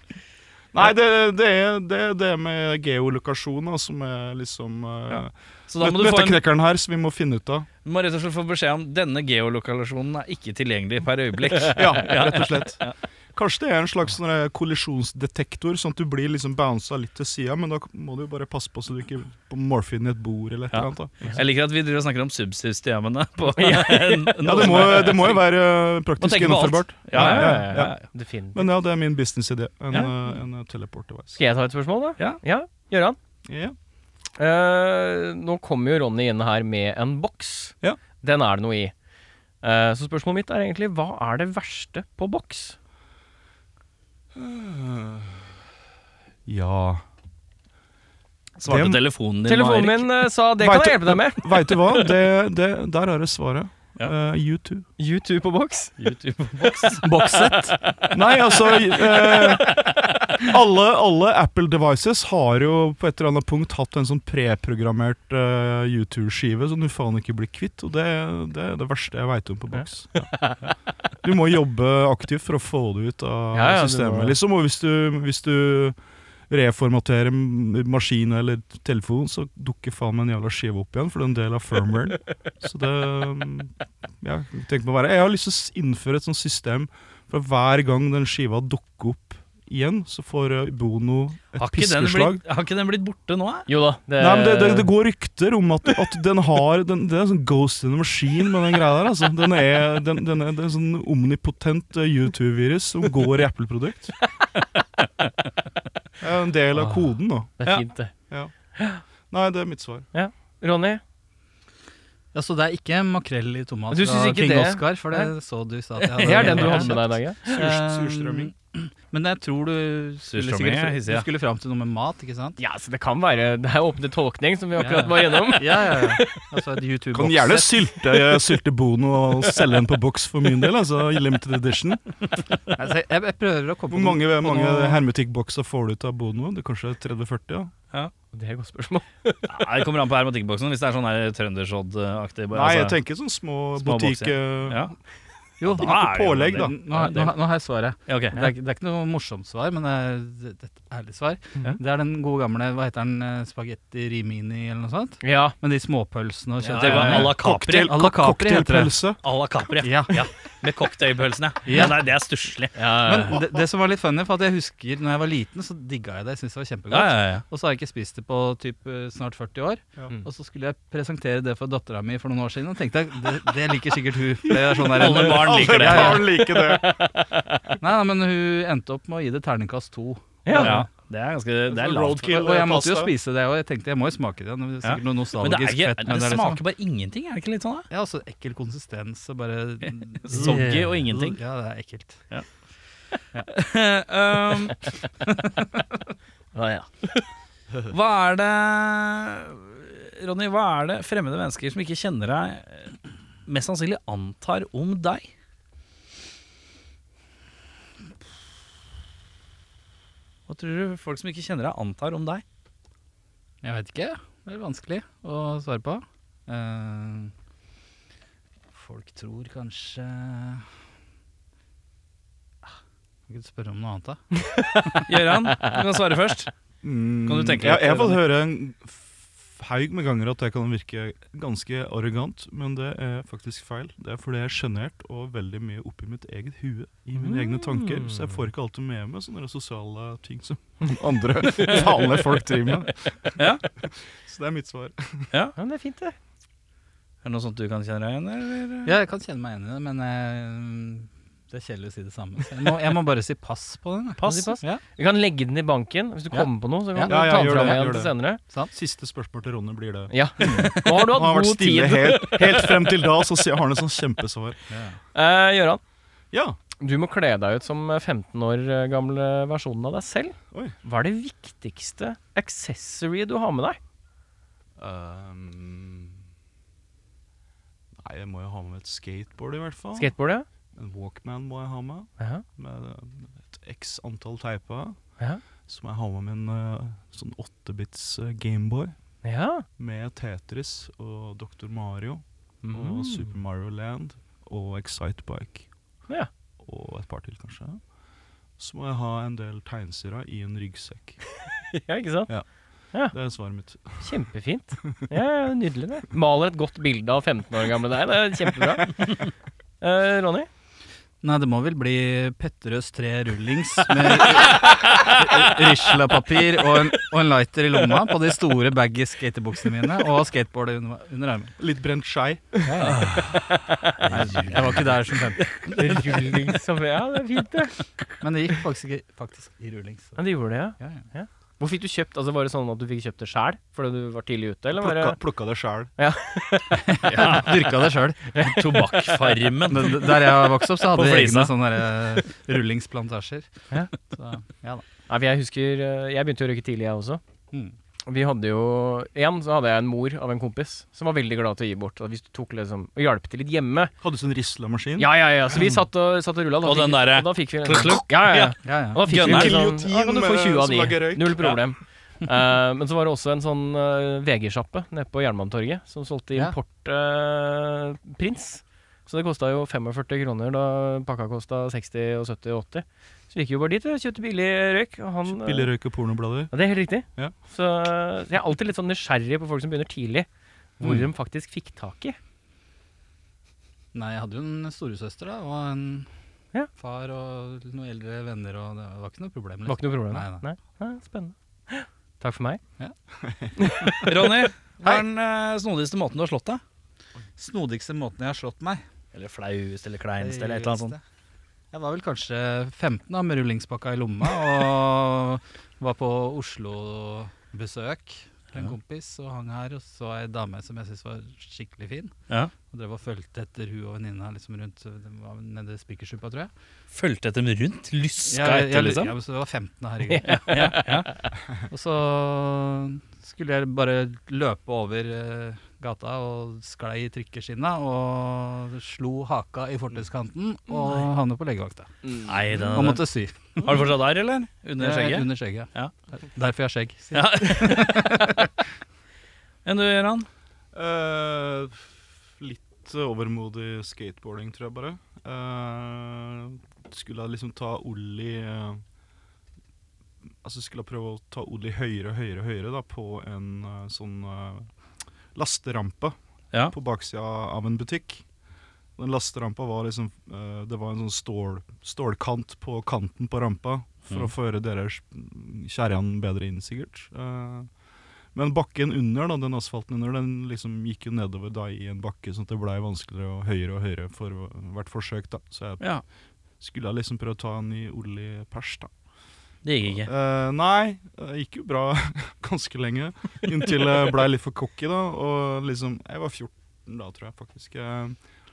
[SPEAKER 3] Nei, det, det er det, det er med geolokasjon da, som er liksom uh,
[SPEAKER 1] Så da må du
[SPEAKER 3] Dette
[SPEAKER 1] få
[SPEAKER 3] er
[SPEAKER 1] en
[SPEAKER 3] knekkeren her, som vi må
[SPEAKER 1] [laughs]
[SPEAKER 3] finne ut av.
[SPEAKER 1] Du må rett og slett få beskjed om denne geolokalisasjonen er ikke tilgjengelig per øyeblikk.
[SPEAKER 3] [laughs] Ja, rett og slett. Kanskje det er en slags sånn der kollisjonsdetektor, sånn at du blir liksom bounsa litt til sida, men da må du jo bare passe på så du ikke morfer inn i et bord eller et
[SPEAKER 1] Ja.
[SPEAKER 3] eller annet. da.
[SPEAKER 1] Jeg liker at vi driver og snakker om subsystemene. På
[SPEAKER 3] Ja, det må, det må jo være øh,
[SPEAKER 1] Må
[SPEAKER 3] praktisk
[SPEAKER 1] tenke på alt.
[SPEAKER 3] gjennomførbart.
[SPEAKER 1] Ja, ja, ja, ja, ja.
[SPEAKER 2] Definitivt.
[SPEAKER 3] Men ja, det er min businessidé. En,
[SPEAKER 1] Ja.
[SPEAKER 3] øh, en teleport device.
[SPEAKER 2] Skal jeg ta et spørsmål, da?
[SPEAKER 1] Ja.
[SPEAKER 2] ja. Gjøran?
[SPEAKER 3] Ja.
[SPEAKER 2] Eh, nå kommer jo Ronny inn her med en boks.
[SPEAKER 3] Ja.
[SPEAKER 2] Den er det noe i. Eh, så spørsmålet mitt er egentlig hva er det verste på boks?
[SPEAKER 3] ja.
[SPEAKER 1] Svarte
[SPEAKER 3] Det-
[SPEAKER 1] telefonen din,
[SPEAKER 2] Telefonen
[SPEAKER 1] Erik?
[SPEAKER 2] min eh, sa det kan
[SPEAKER 3] Vet
[SPEAKER 2] jeg
[SPEAKER 3] du-
[SPEAKER 2] hjelpe deg
[SPEAKER 3] [laughs]
[SPEAKER 2] med.
[SPEAKER 3] Veit du hva? Det, det, der er det svaret.
[SPEAKER 1] Ja.
[SPEAKER 3] Eh, U2.
[SPEAKER 2] U2 på boks.
[SPEAKER 4] bokset
[SPEAKER 3] Nei, altså eh, alle, alle Apple devices har jo på et eller annet punkt hatt en sånn preprogrammert eh, YouTube-skive som du faen ikke blir kvitt, og det, det er det verste jeg veit om på boks. Du må jobbe aktivt for å få det ut av
[SPEAKER 2] Ja, ja, du
[SPEAKER 3] systemet,
[SPEAKER 2] må-
[SPEAKER 3] liksom. Og hvis du, hvis du reformaterer m- maskin eller telefon, så dukker faen meg en jævla skive opp igjen, for det er en del av firmwaren. Så det mm, ja, tenk på å være. Jeg har lyst til å s- innføre et sånt system for hver gang den skiva dukker opp igjen, så får eh, Bono et
[SPEAKER 1] Har ikke, den
[SPEAKER 3] piskeslag.
[SPEAKER 1] blitt, har ikke den blitt borte nå? eh?
[SPEAKER 2] Jo da. Det,
[SPEAKER 3] Nei, men det, det, det går rykter om at, at den har den, Det er en sånn ghost in the machine med den greia der. Altså. Den er, den, den er, det er en sånn omnipotent eh, YouTube-virus som går i Apple-produkt. Det er en del
[SPEAKER 1] Ah.
[SPEAKER 3] av koden, da.
[SPEAKER 2] det
[SPEAKER 1] Ja.
[SPEAKER 2] er fint, det.
[SPEAKER 3] Nei, det er mitt svar.
[SPEAKER 2] Ronny?
[SPEAKER 4] Ja, så det er ikke makrell i tomat
[SPEAKER 2] Du
[SPEAKER 4] fra
[SPEAKER 2] synes ikke
[SPEAKER 4] King
[SPEAKER 2] det?
[SPEAKER 4] Oscar, for det så du sa at jeg
[SPEAKER 2] Det er den du hadde med deg i dag, Eh, ja?
[SPEAKER 3] Surs- surstrømming.
[SPEAKER 4] Um, Men jeg tror du skulle,
[SPEAKER 1] Surstrømming er
[SPEAKER 4] sikkert,
[SPEAKER 1] hissig,
[SPEAKER 4] du
[SPEAKER 1] ja.
[SPEAKER 4] skulle fram til noe med mat, ikke sant?
[SPEAKER 2] Ja, så det kan være Det er åpne tolkning, som vi akkurat var gjennom.
[SPEAKER 4] Ja, ja, ja. Altså et YouTube-bokset.
[SPEAKER 3] Kan gjerne sylte, eh, sylte Bono og selge den på boks for min del. Altså Limited edition.
[SPEAKER 4] Altså, jeg, jeg prøver å
[SPEAKER 3] Hvor
[SPEAKER 4] komme på
[SPEAKER 3] mange,
[SPEAKER 4] på
[SPEAKER 3] mange
[SPEAKER 4] noe-
[SPEAKER 3] hermetikkbokser får du ut av Bono? Det er kanskje 30-40? ja
[SPEAKER 2] [laughs] Det er et godt spørsmål.
[SPEAKER 1] Nei, det kommer an på hermetikkboksen. Hvis det er sånn her trøndersodd-aktig. bare,
[SPEAKER 3] Nei, jeg
[SPEAKER 1] altså.
[SPEAKER 3] tenker sånn små,
[SPEAKER 1] Små
[SPEAKER 3] butikk
[SPEAKER 1] bokser.
[SPEAKER 3] eh,
[SPEAKER 1] ja.
[SPEAKER 4] Jo,
[SPEAKER 1] Da
[SPEAKER 4] nå,
[SPEAKER 1] er det jo-
[SPEAKER 3] pålegg, da.
[SPEAKER 4] nå, har- nå, har- nå har jeg svaret.
[SPEAKER 1] Ja, ok.
[SPEAKER 4] Det er, ikke- det er ikke noe morsomt svar, men det er det det er et ærlig svar.
[SPEAKER 3] Mhm.
[SPEAKER 4] Det er den gode gamle hva heter den, eh, spagetti rimini eller noe sånt?
[SPEAKER 2] Ja.
[SPEAKER 4] Med de småpølsene og
[SPEAKER 1] Ja,
[SPEAKER 4] kjøttet.
[SPEAKER 1] det var à la Capri.
[SPEAKER 4] Cocktail- à la Capri heter det.
[SPEAKER 3] Cocktailpølse.
[SPEAKER 1] À la Capri.
[SPEAKER 4] Ja.
[SPEAKER 1] Ja, Med cocktailpølsene. Ja.
[SPEAKER 4] Ja.
[SPEAKER 1] Ja, nei, det er stusslig.
[SPEAKER 4] Men det, det som var litt funny, for at jeg husker når jeg var liten, så digga jeg det. Jeg syntes det var kjempegodt.
[SPEAKER 1] Ja, ja, ja.
[SPEAKER 4] Og så har jeg ikke spist det på typ, eh, snart 40 år.
[SPEAKER 3] Ja.
[SPEAKER 1] Mm.
[SPEAKER 4] Og så skulle jeg presentere det for dattera mi for noen år siden, og tenkte jeg det, det liker sikkert hun. For det er sånn der,
[SPEAKER 1] Alle barn liker det.
[SPEAKER 4] Ja, ja.
[SPEAKER 3] Barn liker det.
[SPEAKER 4] Nei, nei, men hun endte opp med å gi det terningkast to.
[SPEAKER 1] Ja. Det er ganske det er lavt.
[SPEAKER 4] Og, og jeg måtte jo spise det, og jeg tenkte jeg må jo smake det. Det er sikkert noe
[SPEAKER 1] Men det, er
[SPEAKER 4] nostalgisk
[SPEAKER 1] ikke,
[SPEAKER 4] fett
[SPEAKER 1] det
[SPEAKER 4] med det. Liksom.
[SPEAKER 1] smaker bare ingenting, er det ikke litt sånn? da?
[SPEAKER 4] Ja, altså ekkel konsistens og bare
[SPEAKER 1] [laughs] Soggy og ingenting.
[SPEAKER 4] Ja, det er ekkelt.
[SPEAKER 1] [laughs] um, [laughs] hva er det Ronny, hva er det fremmede mennesker som ikke kjenner deg, eh, mest sannsynlig antar om deg? Hva tror du folk som ikke kjenner deg, antar om deg?
[SPEAKER 4] Jeg veit ikke. Det er vanskelig å svare på. Eh, folk tror kanskje Ah, Kan ikke du spørre om noe annet, da?
[SPEAKER 1] Gøran, du kan svare først. [laughs] Kan du tenke
[SPEAKER 3] jeg,
[SPEAKER 1] litt,
[SPEAKER 3] Mm. jeg har fått
[SPEAKER 1] Ronny?
[SPEAKER 3] høre en f- haug med ganger at jeg kan virke ganske arrogant, men det er faktisk feil. Det er fordi jeg er sjenert og veldig mye oppi mitt eget hue. I mine
[SPEAKER 1] Mm.
[SPEAKER 3] egne tanker. Så jeg får ikke alltid med meg sånne sosiale ting
[SPEAKER 1] [laughs]
[SPEAKER 3] som andre vanlige folk driver med.
[SPEAKER 1] Ja.
[SPEAKER 3] [laughs] Så det er mitt svar.
[SPEAKER 2] ja, men det er fint,
[SPEAKER 1] Er
[SPEAKER 2] det.
[SPEAKER 1] det noe sånt du kan kjenne deg igjen? Eller?
[SPEAKER 4] Ja, jeg kan kjenne meg igjen i det, men eh, det er kjedelig å si det samme. Så jeg, må, jeg må bare si pass på den. jeg.
[SPEAKER 1] Pass?
[SPEAKER 4] Må si Ja.
[SPEAKER 2] Du kan legge den i banken. Hvis du
[SPEAKER 4] Ja.
[SPEAKER 2] kommer på noe, så kan
[SPEAKER 3] Ja,
[SPEAKER 4] Ja.
[SPEAKER 2] du
[SPEAKER 3] ja,
[SPEAKER 2] ta den
[SPEAKER 3] gjør
[SPEAKER 2] fram
[SPEAKER 3] det,
[SPEAKER 2] igjen
[SPEAKER 3] gjør
[SPEAKER 2] til
[SPEAKER 3] det.
[SPEAKER 2] senere.
[SPEAKER 3] Siste spørsmål til Ronny blir det.
[SPEAKER 2] Ja. Nå har du
[SPEAKER 3] Han har
[SPEAKER 2] hatt
[SPEAKER 3] vært
[SPEAKER 2] god
[SPEAKER 3] stille
[SPEAKER 2] tid. [laughs]
[SPEAKER 3] helt, helt frem til da, så sier- har han et sånt kjempesvar.
[SPEAKER 2] Eh, Gøran,
[SPEAKER 3] Ja,
[SPEAKER 2] du må kle deg ut som 15 år eh, gamle versjonen av deg selv.
[SPEAKER 3] Oi.
[SPEAKER 2] Hva er det viktigste accessory du har med deg?
[SPEAKER 3] Ehm, nei, jeg må jo ha med et skateboard i hvert fall.
[SPEAKER 2] Skateboardet?
[SPEAKER 3] en Walkman må jeg ha med.
[SPEAKER 2] Ja.
[SPEAKER 3] Med et x antall teiper.
[SPEAKER 2] Ja.
[SPEAKER 3] Så må jeg ha med min eh, sånn 8-bits eh, Gameboy.
[SPEAKER 2] ja.
[SPEAKER 3] Med Tetris og Dr. Mario
[SPEAKER 2] Mm.
[SPEAKER 3] og Super Mario Land og Excitebike.
[SPEAKER 2] Ja.
[SPEAKER 3] Og et par til, kanskje. Så må jeg ha en del tegneserier i en ryggsekk.
[SPEAKER 2] [laughs] ja, ikke sant?
[SPEAKER 3] Det er svaret mitt.
[SPEAKER 2] Kjempefint. Ja, ja, Nydelig, det. Maler et godt bilde av 15 år gamle deg. Det er kjempebra. [laughs] Eh, Ronny?
[SPEAKER 4] Nei, det må vel bli Petterøes tre rullings med rislapapir og, en- og en lighter i lomma på de store baggy skatebuksene mine og skateboardet under, under armen.
[SPEAKER 3] Litt brent skei.
[SPEAKER 4] Jeg var ikke der som 15,
[SPEAKER 2] Rulling som Ja, det er fint, det.
[SPEAKER 4] men det gikk faktisk, ikke- faktisk i rullings.
[SPEAKER 2] Ja, du gjorde det, ja.
[SPEAKER 4] Ja, ja.
[SPEAKER 2] Hvor fikk du kjøpt? Altså, Var det sånn at du fikk kjøpt det sjæl fordi du var tidlig ute? eller var det...
[SPEAKER 3] Plukka, plukka det sjæl.
[SPEAKER 4] Ja, Dyrka det sjøl.
[SPEAKER 1] [laughs] Tobakkfarmen.
[SPEAKER 4] Men d- Der jeg vokste opp, så hadde
[SPEAKER 1] På
[SPEAKER 4] vi
[SPEAKER 1] flisa.
[SPEAKER 4] egne sånne der, eh, rullingsplantasjer.
[SPEAKER 2] Ja.
[SPEAKER 4] Så, ja da.
[SPEAKER 2] Nei, for Jeg husker, eh, jeg begynte å røyke tidlig, jeg også.
[SPEAKER 4] Mm.
[SPEAKER 2] Vi hadde jo, Igjen så hadde jeg en mor av en kompis som var veldig glad til å gi bort. Og hvis du tok liksom, og hjalp til litt hjemme.
[SPEAKER 3] Hadde du sånn rislemaskin?
[SPEAKER 2] Ja, ja, ja, Så vi satt og, satt og rulla.
[SPEAKER 1] Og den derre
[SPEAKER 2] Da fikk vi
[SPEAKER 1] klukk, klukk.
[SPEAKER 2] Ja, ja, ja.
[SPEAKER 4] Ja, ja.
[SPEAKER 2] Og da fikk vi
[SPEAKER 1] Gunnar.
[SPEAKER 2] liksom, ja, kan du få 20 av
[SPEAKER 3] Giljotin, eh, som lager
[SPEAKER 2] de.
[SPEAKER 3] røyk.
[SPEAKER 2] Null problem. Eh, men så var det også en sånn eh, VG-sjappe nede på Jernbanetorget som solgte
[SPEAKER 4] Ja.
[SPEAKER 2] importprins. så det kosta jo 45 kroner da pakka kosta 60 og 70 og 80. Så vi gikk jo bare dit og kjøpte billig røyk. Og han, eh,
[SPEAKER 3] Billig røyk og pornoblader.
[SPEAKER 2] ja, det er helt riktig.
[SPEAKER 3] Ja.
[SPEAKER 2] Så så jeg er alltid litt sånn nysgjerrig på folk som begynner tidlig. Hvor
[SPEAKER 4] Mm.
[SPEAKER 2] de faktisk fikk tak i.
[SPEAKER 4] Nei, jeg hadde jo en storesøster da, og en
[SPEAKER 2] Ja.
[SPEAKER 4] far og noen eldre venner, og det var ikke noe problem. liksom.
[SPEAKER 2] Det var ikke noe problem.
[SPEAKER 4] Nei, nei.
[SPEAKER 2] Nei, spennende. [gasps] Takk for meg.
[SPEAKER 1] Ronny, hva er den eh, snodigste måten du har slått deg?
[SPEAKER 4] Snodigste måten jeg har slått meg.
[SPEAKER 1] Eller flauest eller kleinest eller et eller annet sånt.
[SPEAKER 4] Jeg var vel kanskje 15 da, med rullingspakka i lomma, og var på Oslo-besøk til en
[SPEAKER 1] Ja.
[SPEAKER 4] kompis, og hang her, og så ei dame som jeg syntes var skikkelig fin.
[SPEAKER 1] Ja.
[SPEAKER 4] Og drev og fulgte etter hun og venninna liksom rundt, de var nede i Spikersuppa, tror jeg.
[SPEAKER 1] Fulgte etter dem rundt? Luska
[SPEAKER 4] jeg-
[SPEAKER 1] etter,
[SPEAKER 4] jeg-
[SPEAKER 1] liksom?
[SPEAKER 4] Ja, men så det var 15, da, herregud. Og så skulle jeg bare løpe over eh, gata og sklei i trikkeskinna og slo haka i fortauskanten og havnet på legevakta.
[SPEAKER 1] Nei, den,
[SPEAKER 4] Og måtte sy.
[SPEAKER 1] Har du fortsatt arr, eller? Under
[SPEAKER 4] Eh,
[SPEAKER 1] skjegget?
[SPEAKER 4] Under skjegget.
[SPEAKER 1] Ja.
[SPEAKER 4] Der- Derfor jeg har skjegg. sier jeg.
[SPEAKER 1] Ja. [laughs] Enn du, Gøran?
[SPEAKER 3] Eh, litt overmodig skateboarding, tror jeg bare. Eh, skulle jeg liksom ta Olli eh, Altså skulle jeg prøve å ta Olli høyere og høyere, og høyere da, på en eh, sånn eh, lasterampe
[SPEAKER 1] Ja.
[SPEAKER 3] på baksida av en butikk. Den lasterampa var liksom eh, Det var en sånn stål, stålkant på kanten på rampa for
[SPEAKER 1] Mm.
[SPEAKER 3] å føre deres kjerran bedre inn, sikkert. Eh, men bakken under, da, den asfalten under, den liksom gikk jo nedover da i en bakke, sånn at det blei vanskeligere og høyere og høyere for hvert forsøk, da. Så jeg
[SPEAKER 1] Ja.
[SPEAKER 3] skulle jeg liksom prøve å ta en i Olli pers, da.
[SPEAKER 1] Det gikk ikke.
[SPEAKER 3] Eh, nei, det gikk jo bra [laughs] ganske lenge, inntil jeg blei litt for cocky, da. Og liksom Jeg var 14 da, tror jeg faktisk. Eh,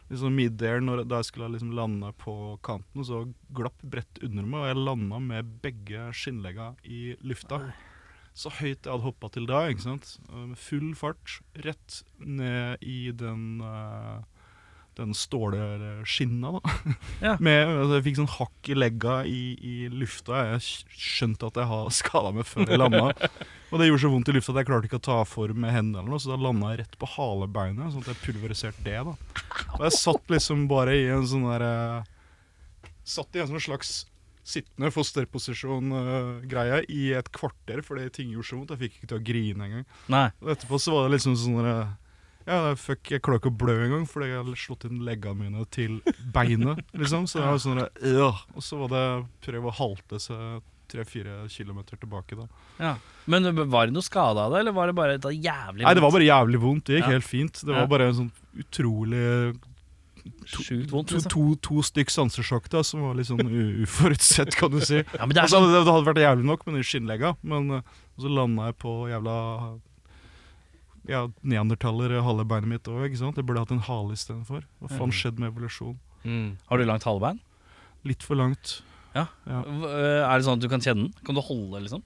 [SPEAKER 3] liksom midair, når- da jeg skulle liksom lande på kanten, så glapp brettet under meg, og jeg landa med begge skinnlegga i lufta. Så høyt jeg hadde hoppa til da, ikke sant. Eh, Med full fart rett ned i den eh, den stålskinna, da.
[SPEAKER 1] Ja.
[SPEAKER 3] Med, altså, jeg fikk sånn hakk i legga i, i lufta. Jeg skj- skjønte at jeg har skada meg før jeg landa. og det gjorde så vondt i lufta at jeg klarte ikke å ta for med hendene, eller noe, så da landa jeg rett på halebeinet, sånn at jeg pulveriserte det. da. Og jeg satt liksom bare i en sånn der eh, Satt i en sånn slags sittende fosterposisjon-greie i et kvarter fordi ting gjorde så vondt. Jeg fikk ikke til å grine engang.
[SPEAKER 1] Nei.
[SPEAKER 3] Og etterpå så var det liksom sånn der, Ja, fuck, jeg klarer ikke å blø engang, fordi jeg har slått inn leggene mine til beinet. liksom, Så det var sånn der, ja. Og så var det prøve å halte seg tre-fire kilometer tilbake. da.
[SPEAKER 1] Ja. Men var det noe skade av det, eller var det bare et jævlig
[SPEAKER 3] Nei, det var bare jævlig vondt. Det gikk
[SPEAKER 1] Ja.
[SPEAKER 3] helt fint. Det
[SPEAKER 1] Ja.
[SPEAKER 3] var bare en sånn utrolig
[SPEAKER 1] sjukt vondt?
[SPEAKER 3] To,
[SPEAKER 1] Liksom.
[SPEAKER 3] to, to stykk sansesjokk da, som var litt sånn u- uforutsett, kan du si.
[SPEAKER 1] Ja, men det er
[SPEAKER 3] Altså,
[SPEAKER 1] sånn
[SPEAKER 3] det, det hadde vært jævlig nok med de skinnlegga, men eh, så landa jeg på jævla ja, neandertaller eh, halve beinet mitt òg. Jeg burde hatt en hale istedenfor. Hva
[SPEAKER 1] Mm.
[SPEAKER 3] faen skjedde med evolusjon?
[SPEAKER 4] Mm.
[SPEAKER 1] sånn- Har du langt halvbein?
[SPEAKER 3] Litt for langt. Ja.
[SPEAKER 1] V- eh, Er det sånn at du kan kjenne den? Kan du holde, liksom?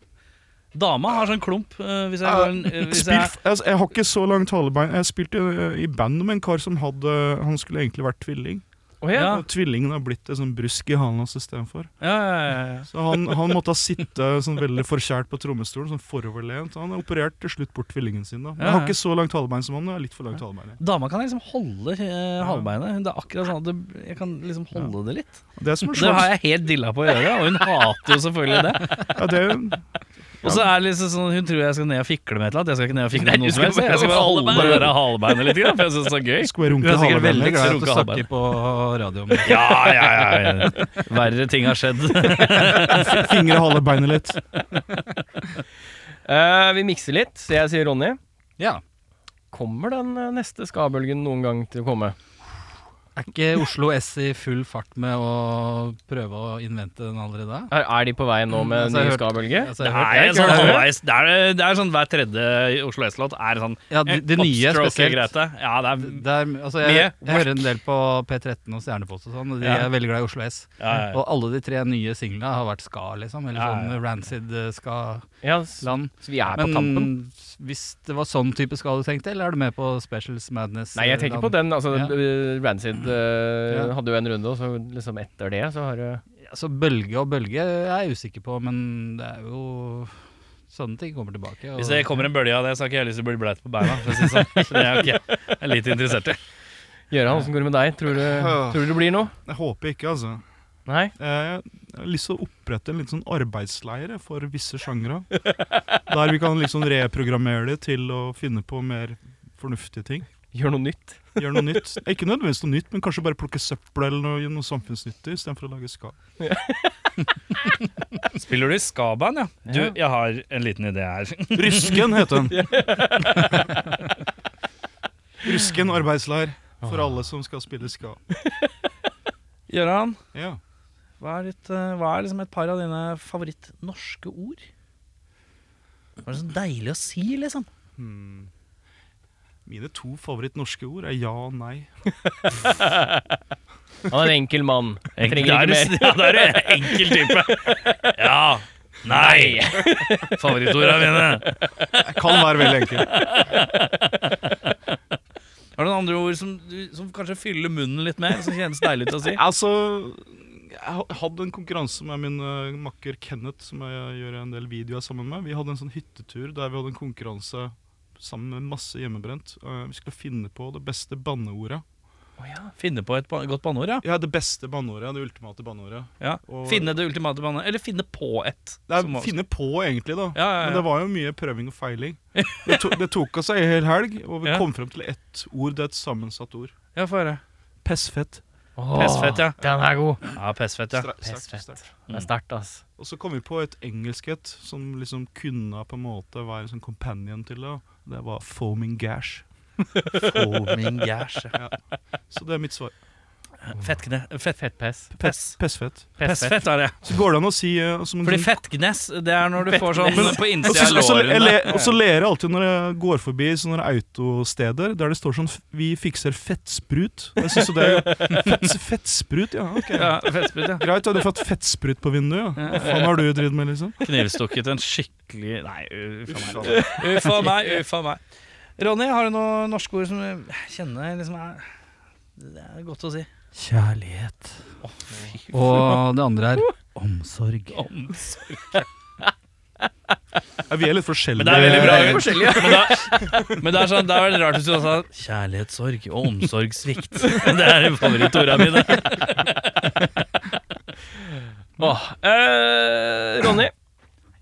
[SPEAKER 1] Dama har sånn klump eh, hvis jeg, går en- eh, hvis jeg
[SPEAKER 3] Spilt, altså, jeg har ikke så langt halebein. Jeg spilte eh, i band med en kar som hadde Han skulle egentlig vært tvilling.
[SPEAKER 2] Å ja.
[SPEAKER 1] Ja.
[SPEAKER 3] Og tvillingen har blitt et sånn brusk i halen hans istedenfor.
[SPEAKER 1] Ja, ja, ja, ja.
[SPEAKER 3] Så han, han måtte ha sittet sånn veldig forkjært på trommestolen, sånn foroverlent. Han har operert til slutt bort tvillingen sin, da. Men jeg
[SPEAKER 1] Ja, ja.
[SPEAKER 3] har ikke så langt halebein som han. Jeg har litt for langt halebein. jeg.
[SPEAKER 1] Dama kan liksom holde eh, halvbeinet. Det er akkurat sånn at det, jeg kan liksom holde det litt.
[SPEAKER 3] Det er som en
[SPEAKER 1] Det
[SPEAKER 3] slags
[SPEAKER 1] har jeg helt dilla på å gjøre, og hun hater jo
[SPEAKER 3] [laughs]
[SPEAKER 1] selvfølgelig det.
[SPEAKER 3] Ja, det er jo
[SPEAKER 1] Og så er det liksom sånn hun tror jeg skal ned og fikle med et eller annet. Jeg skal ikke ned og fikle
[SPEAKER 2] Nei,
[SPEAKER 1] med
[SPEAKER 2] du
[SPEAKER 1] noe som
[SPEAKER 2] skal
[SPEAKER 1] helst.
[SPEAKER 2] bare
[SPEAKER 1] Jeg skal bare
[SPEAKER 2] holde
[SPEAKER 1] holde det der halebeinet litt, grann, for jeg syns det er gøy.
[SPEAKER 3] Skulle jeg
[SPEAKER 4] Du er
[SPEAKER 3] runke
[SPEAKER 4] sikkert
[SPEAKER 3] halebeinet
[SPEAKER 4] veldig
[SPEAKER 3] mitt?
[SPEAKER 4] glad i at du
[SPEAKER 1] Runke halvbein.
[SPEAKER 4] snakker på radioen.
[SPEAKER 1] Ja, ja, ja. ja. [laughs] Verre ting har skjedd.
[SPEAKER 3] Fingre halebeinet litt.
[SPEAKER 2] Eh, vi mikser litt, så jeg sier Ronny.
[SPEAKER 4] Ja.
[SPEAKER 2] Kommer den eh, neste skabølgen noen gang til å komme?
[SPEAKER 4] Er ikke Oslo S i full fart med å prøve å innvente den allerede?
[SPEAKER 2] Er, er de på vei nå med
[SPEAKER 4] Mm, altså,
[SPEAKER 2] ny
[SPEAKER 4] jeg hørte-
[SPEAKER 2] skabølge?
[SPEAKER 4] Altså,
[SPEAKER 1] Det
[SPEAKER 4] jeg har hørt-
[SPEAKER 1] er, en
[SPEAKER 4] jeg har
[SPEAKER 1] sånn
[SPEAKER 4] ikke hørt-
[SPEAKER 1] halvveis, det, er, det er sånn hver tredje Oslo S-låt er sånn
[SPEAKER 4] Ja, de, de nye
[SPEAKER 1] upstroke
[SPEAKER 4] spesielt.
[SPEAKER 1] Grete. Ja, det er
[SPEAKER 4] Det er, altså, jeg,
[SPEAKER 1] Mye.
[SPEAKER 4] jeg hører en del på P13 og Stjernepost og sånn, og de
[SPEAKER 1] Ja.
[SPEAKER 4] er veldig glad i Oslo S.
[SPEAKER 1] ja, ja, ja.
[SPEAKER 4] Og alle de tre nye singlene har vært ska, liksom. Eller
[SPEAKER 1] Ja, ja.
[SPEAKER 4] sånn rancid-ska-land.
[SPEAKER 2] Ja, så, så vi er på tampen.
[SPEAKER 4] Men hvis det var sånn type ska du tenkte, eller er du med på Specials Madness?
[SPEAKER 2] Nei, jeg tenker på den. Altså, eh, Rancid eh,
[SPEAKER 4] Ja.
[SPEAKER 2] hadde jo en runde, og så liksom etter det så har det
[SPEAKER 4] Altså, bølge og bølge er jeg usikker på, men det er jo Sånne ting kommer tilbake. og-
[SPEAKER 1] Hvis det kommer en bølge av det, så har ikke jeg lyst til å bli bleit på beina. For å si det sånn. Så det er jeg ikke- jeg er lite interessert i.
[SPEAKER 2] Gøran, åssen går det med deg? Tror du,
[SPEAKER 3] Øh.
[SPEAKER 2] tror du det blir noe?
[SPEAKER 3] [laughs] Jeg håper ikke, altså.
[SPEAKER 2] Nei?
[SPEAKER 3] Eh, Jeg har lyst til å opprette en litt sånn arbeidsleire for visse sjangre. Der vi kan liksom reprogrammere det til å finne på mer fornuftige ting.
[SPEAKER 2] Gjør noe nytt?
[SPEAKER 3] Gjøre noe nytt. Ikke nødvendigvis noe nytt, men kanskje bare plukke søppel eller noe, gjøre noe samfunnsnyttig istedenfor å lage ska.
[SPEAKER 1] Spiller du i ska-band, ja? Du, jeg har en liten idé her. [laughs]
[SPEAKER 3] Rusken heter
[SPEAKER 4] [laughs]
[SPEAKER 3] den. Rusken arbeidsleir for alle som skal spille ska.
[SPEAKER 1] Gøran,
[SPEAKER 3] Ja.
[SPEAKER 1] hva er, ditt, eh, hva er liksom et par av dine favoritt-norske ord? Hva er det så deilig å si, liksom?
[SPEAKER 3] Hmm. Mine to favorittnorske ord er ja og nei.
[SPEAKER 2] Han er en enkel mann. Trenger
[SPEAKER 1] Der
[SPEAKER 2] ikke mer.
[SPEAKER 1] er- Ja, der er du enkel type. [laughs] Ja. Nei. [laughs] Favorittorda mine.
[SPEAKER 3] Jeg kan være veldig enkel.
[SPEAKER 1] Har du noen andre ord som, du- som kanskje fyller munnen litt mer, som kjennes deilig ut å si?
[SPEAKER 3] Altså, jeg ha- hadde en konkurranse med min eh, makker Kenneth, som jeg gjør en del videoer sammen med. Vi hadde en sånn hyttetur der vi hadde en konkurranse sammen med masse hjemmebrent. Eh, Vi skulle finne på det beste banneordet.
[SPEAKER 2] Å ja.
[SPEAKER 1] Finne på et ba godt banneord, ja.
[SPEAKER 3] Ja, det beste banneordet. Det ultimate banneordet.
[SPEAKER 1] ja.
[SPEAKER 3] Og-
[SPEAKER 1] Finne det ultimate banneordet. Eller finne på et.
[SPEAKER 3] Det er
[SPEAKER 1] som-
[SPEAKER 3] finne på, egentlig, da.
[SPEAKER 1] Ja, ja, ja.
[SPEAKER 3] Men det var jo mye prøving og feiling.
[SPEAKER 1] [laughs]
[SPEAKER 3] Det, to, det tok oss ei hel helg, og vi
[SPEAKER 1] Ja.
[SPEAKER 3] kom frem til ett ord. Det er et sammensatt ord.
[SPEAKER 1] Ja, få høre.
[SPEAKER 3] Pessfett.
[SPEAKER 2] Åh,
[SPEAKER 1] Pessfett, ja.
[SPEAKER 2] Den er god.
[SPEAKER 1] Ja, pessfett, ja.
[SPEAKER 3] Stra- sterkt,
[SPEAKER 2] Pessfett.
[SPEAKER 3] sterkt.
[SPEAKER 2] Det er sterkt, ass.
[SPEAKER 3] Og så kom vi på et engelsk et som liksom kunne på en måte være en sånn companion til det. og Det var foaming gash.
[SPEAKER 1] [laughs] Foaming gash. ja.
[SPEAKER 3] Så det er mitt svar.
[SPEAKER 1] Fettkne... Fett...
[SPEAKER 2] Fettpess.
[SPEAKER 1] Pess.
[SPEAKER 3] Pessfett.
[SPEAKER 2] Pessfett.
[SPEAKER 1] Pessfett er det.
[SPEAKER 3] Så går det an å si eh, som en
[SPEAKER 1] Fordi
[SPEAKER 3] sånn-
[SPEAKER 1] fettgnes, det er når du får sånn
[SPEAKER 3] Fettgnes.
[SPEAKER 1] på
[SPEAKER 3] Og
[SPEAKER 1] innsida
[SPEAKER 3] så-
[SPEAKER 1] av
[SPEAKER 3] og så- jeg
[SPEAKER 1] lårene.
[SPEAKER 3] le- og så ler jeg alltid når jeg går forbi sånne autosteder der det står sånn f- 'Vi fikser fettsprut'. Jeg synes jo det er fett, Fettsprut, ja. ok
[SPEAKER 1] Ja, fettsprut, ja.
[SPEAKER 3] Greit, da har du fått fettsprut på vinduet. Ja. Hva faen har du drevet med, liksom?
[SPEAKER 1] Knivstukket en skikkelig Nei, uff a meg. Uff a meg, uff a meg. Ronny, har du noen norske ord som jeg kjenner liksom er Det er godt å si.
[SPEAKER 4] Kjærlighet. Og det andre er omsorg.
[SPEAKER 1] Omsorg.
[SPEAKER 3] Ja, vi er litt forskjellige.
[SPEAKER 1] Men det er veldig bra.
[SPEAKER 4] Det er
[SPEAKER 1] forskjellig, Men, da, men det er sånn, da er det rart hvis du også sa kjærlighetssorg og omsorgssvikt. Det er favorittordene mine.
[SPEAKER 2] Åh, eh, Ronny.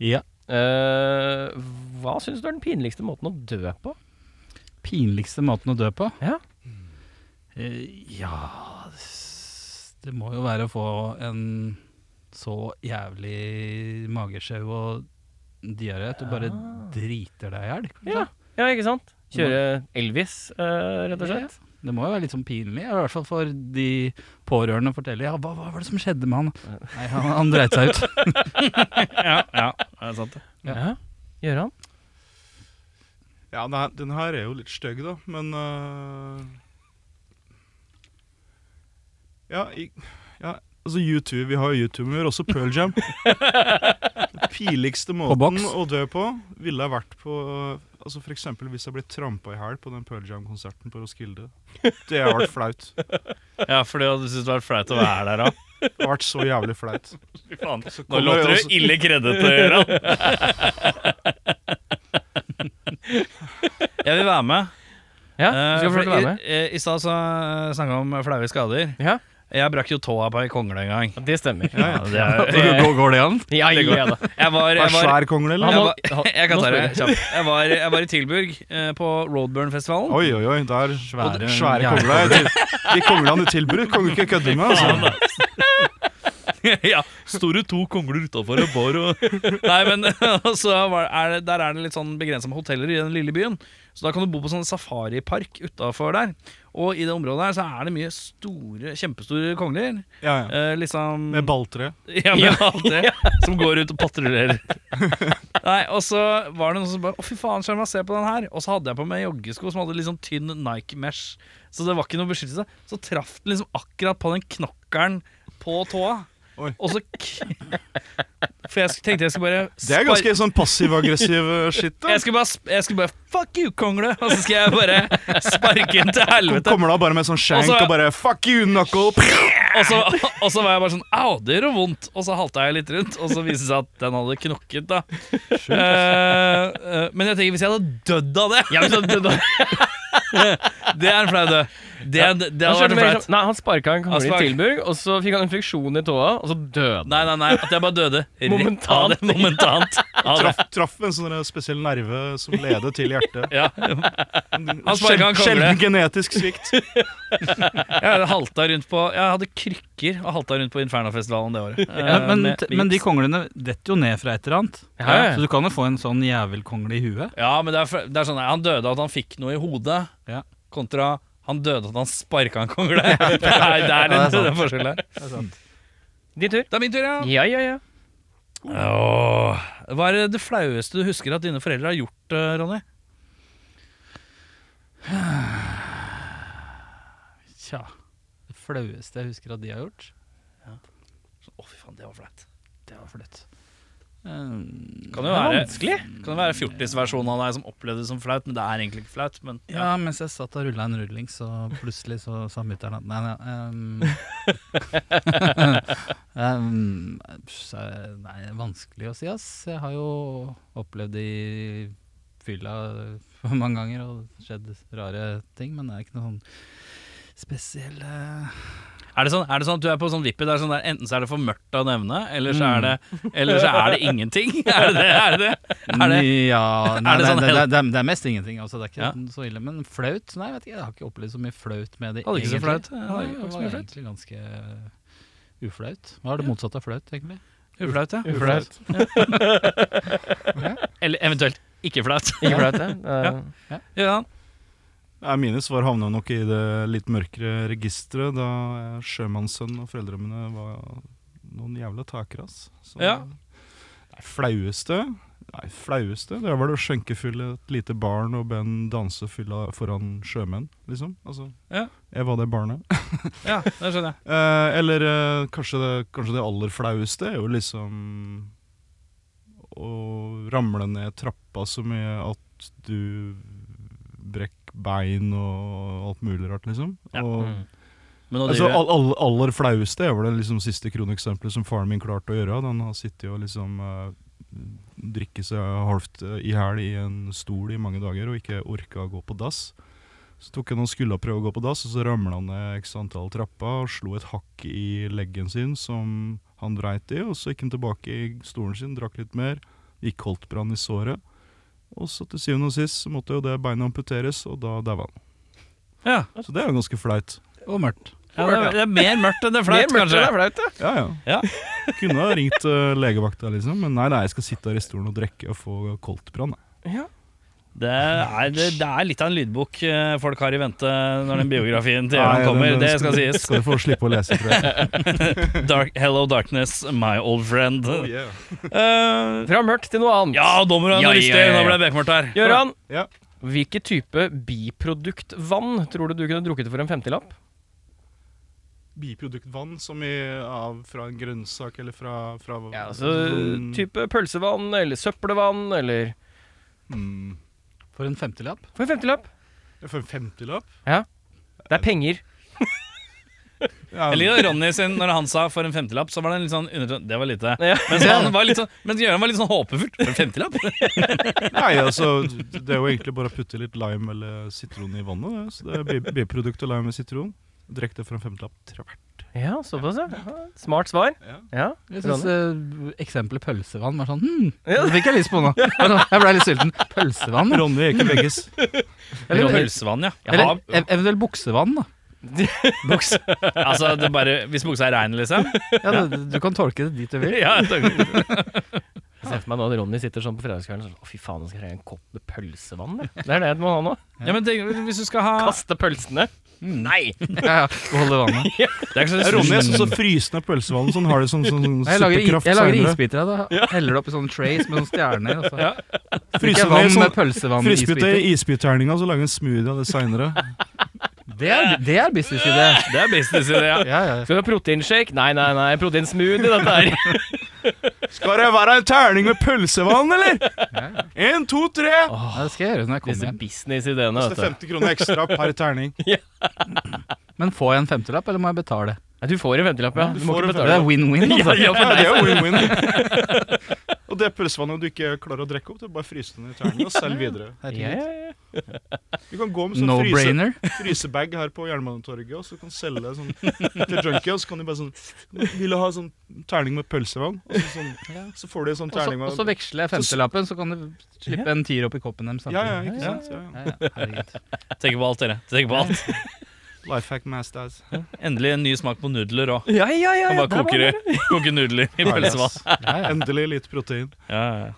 [SPEAKER 4] Ja.
[SPEAKER 2] Eh, hva syns du er den pinligste måten å dø på?
[SPEAKER 4] Pinligste måten å dø på?
[SPEAKER 2] Ja.
[SPEAKER 4] Eh, ja s- Det må jo være å få en så jævlig magesjau og diaré at du bare driter deg i hjel. kanskje.
[SPEAKER 2] Ja. ja, ikke sant? Kjøre Elvis, eh, rett og slett.
[SPEAKER 4] Det må jo være litt sånn pinlig, i hvert fall for de pårørende å fortelle. Ja, hva, hva var det som skjedde med han? Nei, han, han dreit seg ut.
[SPEAKER 1] Ja, ja, det er sant. det.
[SPEAKER 2] Ja. Gjøran?
[SPEAKER 3] Ja, nei, den her er jo litt stygg, da, men øh, Ja, i, ja, altså YouTube, vi har jo YouTube, men vi har også Pearl Jam. Den piligste måten
[SPEAKER 4] boks.
[SPEAKER 3] å dø på ville ha vært på Altså for eksempel hvis jeg ble trampa i hæl på den Pearl Jam-konserten på Roskilde. Det har vært flaut. Det
[SPEAKER 1] Ja, for du hadde syntes det var flaut å være der òg.
[SPEAKER 3] har vært så jævlig flaut.
[SPEAKER 1] Nå
[SPEAKER 3] kommer
[SPEAKER 1] låter
[SPEAKER 3] jeg også-
[SPEAKER 1] du ille kreddete, Gøran. [laughs] Jeg vil være med.
[SPEAKER 2] Ja,
[SPEAKER 1] Eh,
[SPEAKER 2] du skal få lov
[SPEAKER 1] for
[SPEAKER 2] til å være med.
[SPEAKER 1] I, eh, i stad så snakka vi om eh, flaue skader.
[SPEAKER 2] Ja,
[SPEAKER 1] Jeg brakk jo tåa på ei kongle en gang.
[SPEAKER 2] det stemmer.
[SPEAKER 3] Ja, ja.
[SPEAKER 1] Det er,
[SPEAKER 2] [laughs]
[SPEAKER 4] Går, går det an?
[SPEAKER 2] Ja, ja da.
[SPEAKER 1] jeg var,
[SPEAKER 3] Er
[SPEAKER 1] jeg var
[SPEAKER 3] svær kongle,
[SPEAKER 1] jeg,
[SPEAKER 3] eller?
[SPEAKER 2] Han-
[SPEAKER 1] var, [laughs] jeg kan ta det
[SPEAKER 2] Nå spør
[SPEAKER 1] kjapt. Jeg var, jeg var i Tilburg, eh, på Roadburn-festivalen.
[SPEAKER 3] Oi, oi, oi. Der. Svære,
[SPEAKER 4] Svære-
[SPEAKER 3] svære kongler. De konglene du tilbyr, kan du ikke kødde med. Altså.
[SPEAKER 1] ja, Står det to kongler utafor en bar og [laughs] Nei, men og så var, er det, Der er det litt sånn begrensa med hoteller i den lille byen. Så da kan du bo på sånn safaripark utafor der. Og i det området her så er det mye store, kjempestore kongler.
[SPEAKER 3] Ja, ja.
[SPEAKER 1] Eh, liksom
[SPEAKER 3] Med balltre.
[SPEAKER 1] [laughs] Ja, men alt det Som går ut og patruljerer. [laughs] Nei, og så var det noen som bare Å, fy faen, skjerm, se på den her. Og så hadde jeg på meg joggesko som hadde litt sånn tynn Nike-mesh. Så det var ikke noe beskyttelse. Så traff den liksom akkurat på den knokkelen på tåa.
[SPEAKER 3] Oi.
[SPEAKER 1] Og så k [laughs] For jeg sk- tenkte jeg skulle bare
[SPEAKER 3] Det
[SPEAKER 1] spar-
[SPEAKER 3] er ganske sånn passiv-aggressiv
[SPEAKER 1] [laughs]
[SPEAKER 3] eh, shit. da
[SPEAKER 1] jeg skulle, bare, sp- jeg skulle bare Fuck you, kongle! Og så skal jeg bare sparke den til helvete. Altså-
[SPEAKER 3] Kommer da bare med sånn skjenk
[SPEAKER 1] Og så-
[SPEAKER 3] og bare Fuck you,
[SPEAKER 1] [laughs]
[SPEAKER 3] knuckle!
[SPEAKER 1] Og så, og så var jeg bare sånn Au, det gjør vondt. Og så halta jeg litt rundt, og så viste det seg at den hadde knokket, da. Eh, eh, men jeg tenker, hvis jeg hadde dødd av det [laughs] Det er en flau død. Det, er- det, det
[SPEAKER 2] Han,
[SPEAKER 1] hadde vært
[SPEAKER 2] kjørte
[SPEAKER 1] en
[SPEAKER 2] mer
[SPEAKER 1] flaut.
[SPEAKER 2] sånn- nei, han sparka en kongle i
[SPEAKER 1] Aspark.
[SPEAKER 2] Tilburg, og så fikk han infeksjon i tåa, og så døde han.
[SPEAKER 1] Nei, nei, nei. At jeg bare døde. Rett
[SPEAKER 2] Momentant.
[SPEAKER 1] Av det, momentant. Av det.
[SPEAKER 3] Traff, traff en sånn der spesiell nerve som leder til hjertet.
[SPEAKER 1] Ja. Han sparket han
[SPEAKER 3] Sjel-
[SPEAKER 1] kongle.
[SPEAKER 3] Sjelden genetisk svikt.
[SPEAKER 1] [laughs] Jeg hadde halta rundt på Jeg hadde krykker og halta rundt på Infernafestivalen det året. Eh,
[SPEAKER 4] [laughs] Ja, men,
[SPEAKER 1] med-
[SPEAKER 4] t-
[SPEAKER 1] med
[SPEAKER 4] men de
[SPEAKER 1] gips.
[SPEAKER 4] konglene detter jo ned fra et eller annet.
[SPEAKER 2] Ja, ja, ja.
[SPEAKER 4] Så du kan jo få en sånn jævelkongle i huet.
[SPEAKER 1] Ja, men det er, fra- det er sånn Han døde av at han fikk noe i hodet,
[SPEAKER 4] Ja.
[SPEAKER 1] kontra han døde av at han sparka en kongle. Det er, det er den, den forskjellen der.
[SPEAKER 2] Din tur.
[SPEAKER 1] Det er min tur, ja.
[SPEAKER 2] Ja, ja, ja.
[SPEAKER 1] Åh. Hva er det flaueste du husker at dine foreldre har gjort, eh, Ronny?
[SPEAKER 4] Tja. Det flaueste jeg husker at de har gjort.
[SPEAKER 1] Å, fy faen, det var flaut.
[SPEAKER 4] Det var flaut.
[SPEAKER 1] Kan det
[SPEAKER 2] Ehm, Det er
[SPEAKER 1] være, Mm.
[SPEAKER 2] vanskelig.
[SPEAKER 1] kan det være fjortisversjonen av deg som opplevde det som flaut, men det er egentlig ikke flaut. Men
[SPEAKER 4] ja, mens jeg satt og rulla en rulling, så plutselig så sa mutter'n at nei, nei
[SPEAKER 1] [laughs]
[SPEAKER 4] ehm, ehm, så, Nei, det er vanskelig å si, ass. Jeg har jo opplevd det i fylla mange ganger og skjedd rare ting, men det er ikke noe sånn spesielle
[SPEAKER 1] Er det, sånn, er det sånn at du er på sånn vippet der, sånn der enten så er det for mørkt å nevne, eller så er det, eller så er det ingenting? [laughs] Er det det? Er det, det? [laughs] Er det?
[SPEAKER 4] Ja, nei,
[SPEAKER 1] [laughs] Er det
[SPEAKER 4] det,
[SPEAKER 1] sånn
[SPEAKER 4] det, det,
[SPEAKER 1] helt-
[SPEAKER 4] det, det er mest ingenting. Altså, det er ikke
[SPEAKER 1] Ja.
[SPEAKER 4] så ille. Men flaut? Nei, jeg vet ikke, jeg har ikke opplevd så mye flaut med det.
[SPEAKER 1] Hadde ikke så
[SPEAKER 4] egentlig.
[SPEAKER 1] flaut. eh,
[SPEAKER 4] Nei,
[SPEAKER 1] Hadde
[SPEAKER 4] det
[SPEAKER 1] ikke så
[SPEAKER 4] var
[SPEAKER 1] mye flaut.
[SPEAKER 4] egentlig ganske uflaut. Hva er det motsatte av flaut, egentlig?
[SPEAKER 1] Uflaut, ja.
[SPEAKER 2] Uflaut.
[SPEAKER 1] Eller eventuelt ikke flaut.
[SPEAKER 2] Ikke flaut, det. [laughs] Eh,
[SPEAKER 1] Ja.
[SPEAKER 3] Ja, mine svar havna nok i det litt mørkere registeret da jeg, sjømannssønn og foreldrene mine var noen jævla takere, ass. Så,
[SPEAKER 1] Ja.
[SPEAKER 3] Nei, flaueste Nei, flaueste Det var det å skjenkefull et lite barn og be en danse fylla foran sjømenn, liksom. Altså,
[SPEAKER 1] Ja.
[SPEAKER 3] Jeg var det barnet.
[SPEAKER 1] ja, det skjønner jeg.
[SPEAKER 3] Eh, eller eh, kanskje, det, kanskje det aller flaueste er jo liksom å ramle ned trappa så mye at du brekker bein og alt mulig rart, liksom.
[SPEAKER 1] Ja.
[SPEAKER 3] Og,
[SPEAKER 2] Mm.
[SPEAKER 1] Men nå
[SPEAKER 3] altså,
[SPEAKER 1] driver jeg-
[SPEAKER 3] all, all, aller flaueste er vel det liksom siste kroneksempelet som faren min klarte å gjøre. Han har sittet og liksom eh, drikke seg halvt eh, i hæl i en stol i mange dager og ikke orka å gå på dass. Så tok han og skulle prøve å gå på dass, og så ramla han ned x antall trapper og slo et hakk i leggen sin som han dreit i, og så gikk han tilbake i stolen sin, drakk litt mer, gikk koldtbrann i såret. Og så til syvende og sist så måtte jo det beinet amputeres, og da daua han.
[SPEAKER 1] Ja.
[SPEAKER 3] Så det er jo ganske flaut.
[SPEAKER 4] Og mørkt.
[SPEAKER 1] Ja, det, er, det er mer mørkt enn det er flaut,
[SPEAKER 2] Mer mørkt
[SPEAKER 1] kanskje.
[SPEAKER 2] enn det er mm. flaut, ja.
[SPEAKER 3] Ja, ja.
[SPEAKER 1] Ja.
[SPEAKER 3] [laughs] Kunne ha ringt eh, legevakta, liksom, men nei, nei, jeg skal sitte her i stolen og drikke og få koldtbrann. jeg.
[SPEAKER 2] Ja.
[SPEAKER 1] Det er, det, det er litt av en lydbok eh, folk har i vente når den biografien til
[SPEAKER 3] Nei,
[SPEAKER 1] Jørgen
[SPEAKER 3] den-
[SPEAKER 1] kommer.
[SPEAKER 3] den
[SPEAKER 1] Det skal sies.
[SPEAKER 3] Skal du få slippe å lese,
[SPEAKER 1] [laughs]
[SPEAKER 3] tror jeg.
[SPEAKER 1] Dark, hello darkness, my old friend.
[SPEAKER 3] Oh,
[SPEAKER 1] Eh,
[SPEAKER 2] Fra mørkt til noe annet.
[SPEAKER 1] ja, dommeren
[SPEAKER 2] Ja, ja,
[SPEAKER 1] rister.
[SPEAKER 2] ja, ja.
[SPEAKER 1] Nå ble jeg bekmørkt her.
[SPEAKER 2] Gøran,
[SPEAKER 3] Ja.
[SPEAKER 2] hvilken type biproduktvann tror du du kunne drukket for en femtilapp?
[SPEAKER 3] Biproduktvann som av, fra en grønnsak eller fra,
[SPEAKER 2] Ja, altså
[SPEAKER 3] Mm.
[SPEAKER 2] type pølsevann eller søppelvann eller
[SPEAKER 4] For en femtilapp.
[SPEAKER 2] For en femtilapp?
[SPEAKER 3] Mm. For en femtilapp?
[SPEAKER 2] Det er penger.
[SPEAKER 3] Ja,
[SPEAKER 1] Jeg liker det Ronny sin, når han sa for en femtilapp, så var det en litt sånn undertone Det var lite.
[SPEAKER 2] Ja.
[SPEAKER 1] Men så han var litt sånn, mens Gøran var litt sånn håpefullt. For en femtilapp?
[SPEAKER 3] Nei, altså, det er jo egentlig bare å putte litt lime eller sitron i vannet. Det. Så det er bi- biprodukt og lime og sitron. Drikk det for en femtilapp. Tror jeg.
[SPEAKER 2] Ja, såpass, ja. Smart svar.
[SPEAKER 3] Ja.
[SPEAKER 2] Ja.
[SPEAKER 4] Jeg synes eh, eksempelet pølsevann var sånn hmm,
[SPEAKER 2] Ja.
[SPEAKER 4] Det fikk jeg lyst
[SPEAKER 1] [laughs]
[SPEAKER 4] på nå. Jeg ble litt sulten. Pølsevann? ja.
[SPEAKER 3] Ronny Eke Vegges.
[SPEAKER 1] Eller
[SPEAKER 4] Eller,
[SPEAKER 1] pølsevann, ja.
[SPEAKER 4] eller eh,
[SPEAKER 1] Jaha.
[SPEAKER 4] ev- eventuelt buksevann, da.
[SPEAKER 1] Buks. Altså, det er bare, hvis buksa er rein, liksom?
[SPEAKER 4] Ja, du, du kan tolke det dit du vil.
[SPEAKER 1] Ja, takk.
[SPEAKER 2] Jeg ser for meg nå at Ronny sitter sånn på fredagskvelden og sånn Å, fy faen, jeg skal trenge en kopp med pølsevann, jeg. Det er det jeg må ha nå.
[SPEAKER 1] ja men tenk, hvis du skal ha
[SPEAKER 2] Kaste pølsene.
[SPEAKER 1] Nei!
[SPEAKER 4] Ja, ja, Beholde
[SPEAKER 1] [laughs]
[SPEAKER 4] vannet.
[SPEAKER 1] Det er ikke så
[SPEAKER 3] Ronny er sånn som fryser ned pølsevannet, sånn har det som sånn, sånn
[SPEAKER 4] Jeg lager, i-
[SPEAKER 3] suppekraft
[SPEAKER 4] jeg lager
[SPEAKER 3] senere.
[SPEAKER 4] isbiter av det. Heller det opp i sånne trays med sånne stjerner. altså. Og så.
[SPEAKER 1] Ja.
[SPEAKER 3] Fryser
[SPEAKER 4] Drikker
[SPEAKER 3] ned
[SPEAKER 4] vann
[SPEAKER 3] sånn-
[SPEAKER 4] med pølsevann i
[SPEAKER 3] Fryser ut det
[SPEAKER 4] isbiter.
[SPEAKER 3] i isbiterninga, så lager en smoothie av det seinere.
[SPEAKER 4] Det er, det er businessidé.
[SPEAKER 1] Det er businessidé, ja.
[SPEAKER 4] Ja, ja.
[SPEAKER 2] Skal du ha proteinshake? Nei, nei, nei. Proteinsmoothie, dette her.
[SPEAKER 3] Skal det være en terning med pølsevann, eller?
[SPEAKER 4] Ja, ja.
[SPEAKER 3] Én, to, tre!
[SPEAKER 4] Ja, det skal jeg gjøre når jeg kommer
[SPEAKER 2] Disse
[SPEAKER 4] hjem.
[SPEAKER 2] business-ideene,
[SPEAKER 3] Koster
[SPEAKER 2] vet du.
[SPEAKER 3] 50 kroner ekstra per
[SPEAKER 4] [laughs]
[SPEAKER 3] terning.
[SPEAKER 4] Men får jeg en femtilapp, eller må jeg betale?
[SPEAKER 2] Nei, du får en femtilapp, ja.
[SPEAKER 3] Du
[SPEAKER 2] Du må
[SPEAKER 3] får
[SPEAKER 2] ikke
[SPEAKER 3] en
[SPEAKER 4] Det
[SPEAKER 2] betale.
[SPEAKER 4] er win-win. [laughs] Altså.
[SPEAKER 2] Ja,
[SPEAKER 3] Ja, det er jo win-win. Og det pølsevannet du ikke klarer å drikke opp, det er bare å fryse det ned i terningen og selg videre.
[SPEAKER 2] Ja,
[SPEAKER 4] Herregud.
[SPEAKER 2] ja, ja.
[SPEAKER 3] Du kan gå med sånn fryse,
[SPEAKER 4] No-brainer.
[SPEAKER 3] frysebag her på Jernbanetorget, og så kan du selge sånn til junkie, og så kan de bare sånn Vil du ha sånn terning med pølsevann? Og så, sånn, så får de sånn
[SPEAKER 4] Og så-
[SPEAKER 3] terning
[SPEAKER 4] og
[SPEAKER 3] med
[SPEAKER 4] så veksler jeg femtilappen, så kan du slippe en tier opp i koppen dem
[SPEAKER 3] Ja, ja,
[SPEAKER 4] samtidig.
[SPEAKER 3] ikke sant? Ja, ja.
[SPEAKER 4] Ja, ja, herregud.
[SPEAKER 1] Tenk på alt, dere. Tenk på alt.
[SPEAKER 3] Lifehack masters.
[SPEAKER 1] Endelig en ny smak på nudler òg.
[SPEAKER 2] Ja, ja, ja,
[SPEAKER 1] Kan
[SPEAKER 2] ja,
[SPEAKER 1] bare
[SPEAKER 2] der var
[SPEAKER 1] koke,
[SPEAKER 2] det.
[SPEAKER 1] det- koke nudler i
[SPEAKER 3] Herlig,
[SPEAKER 1] pølsevann.
[SPEAKER 3] ass.
[SPEAKER 4] Ja, ja.
[SPEAKER 3] Endelig litt protein.
[SPEAKER 1] Ja, ja.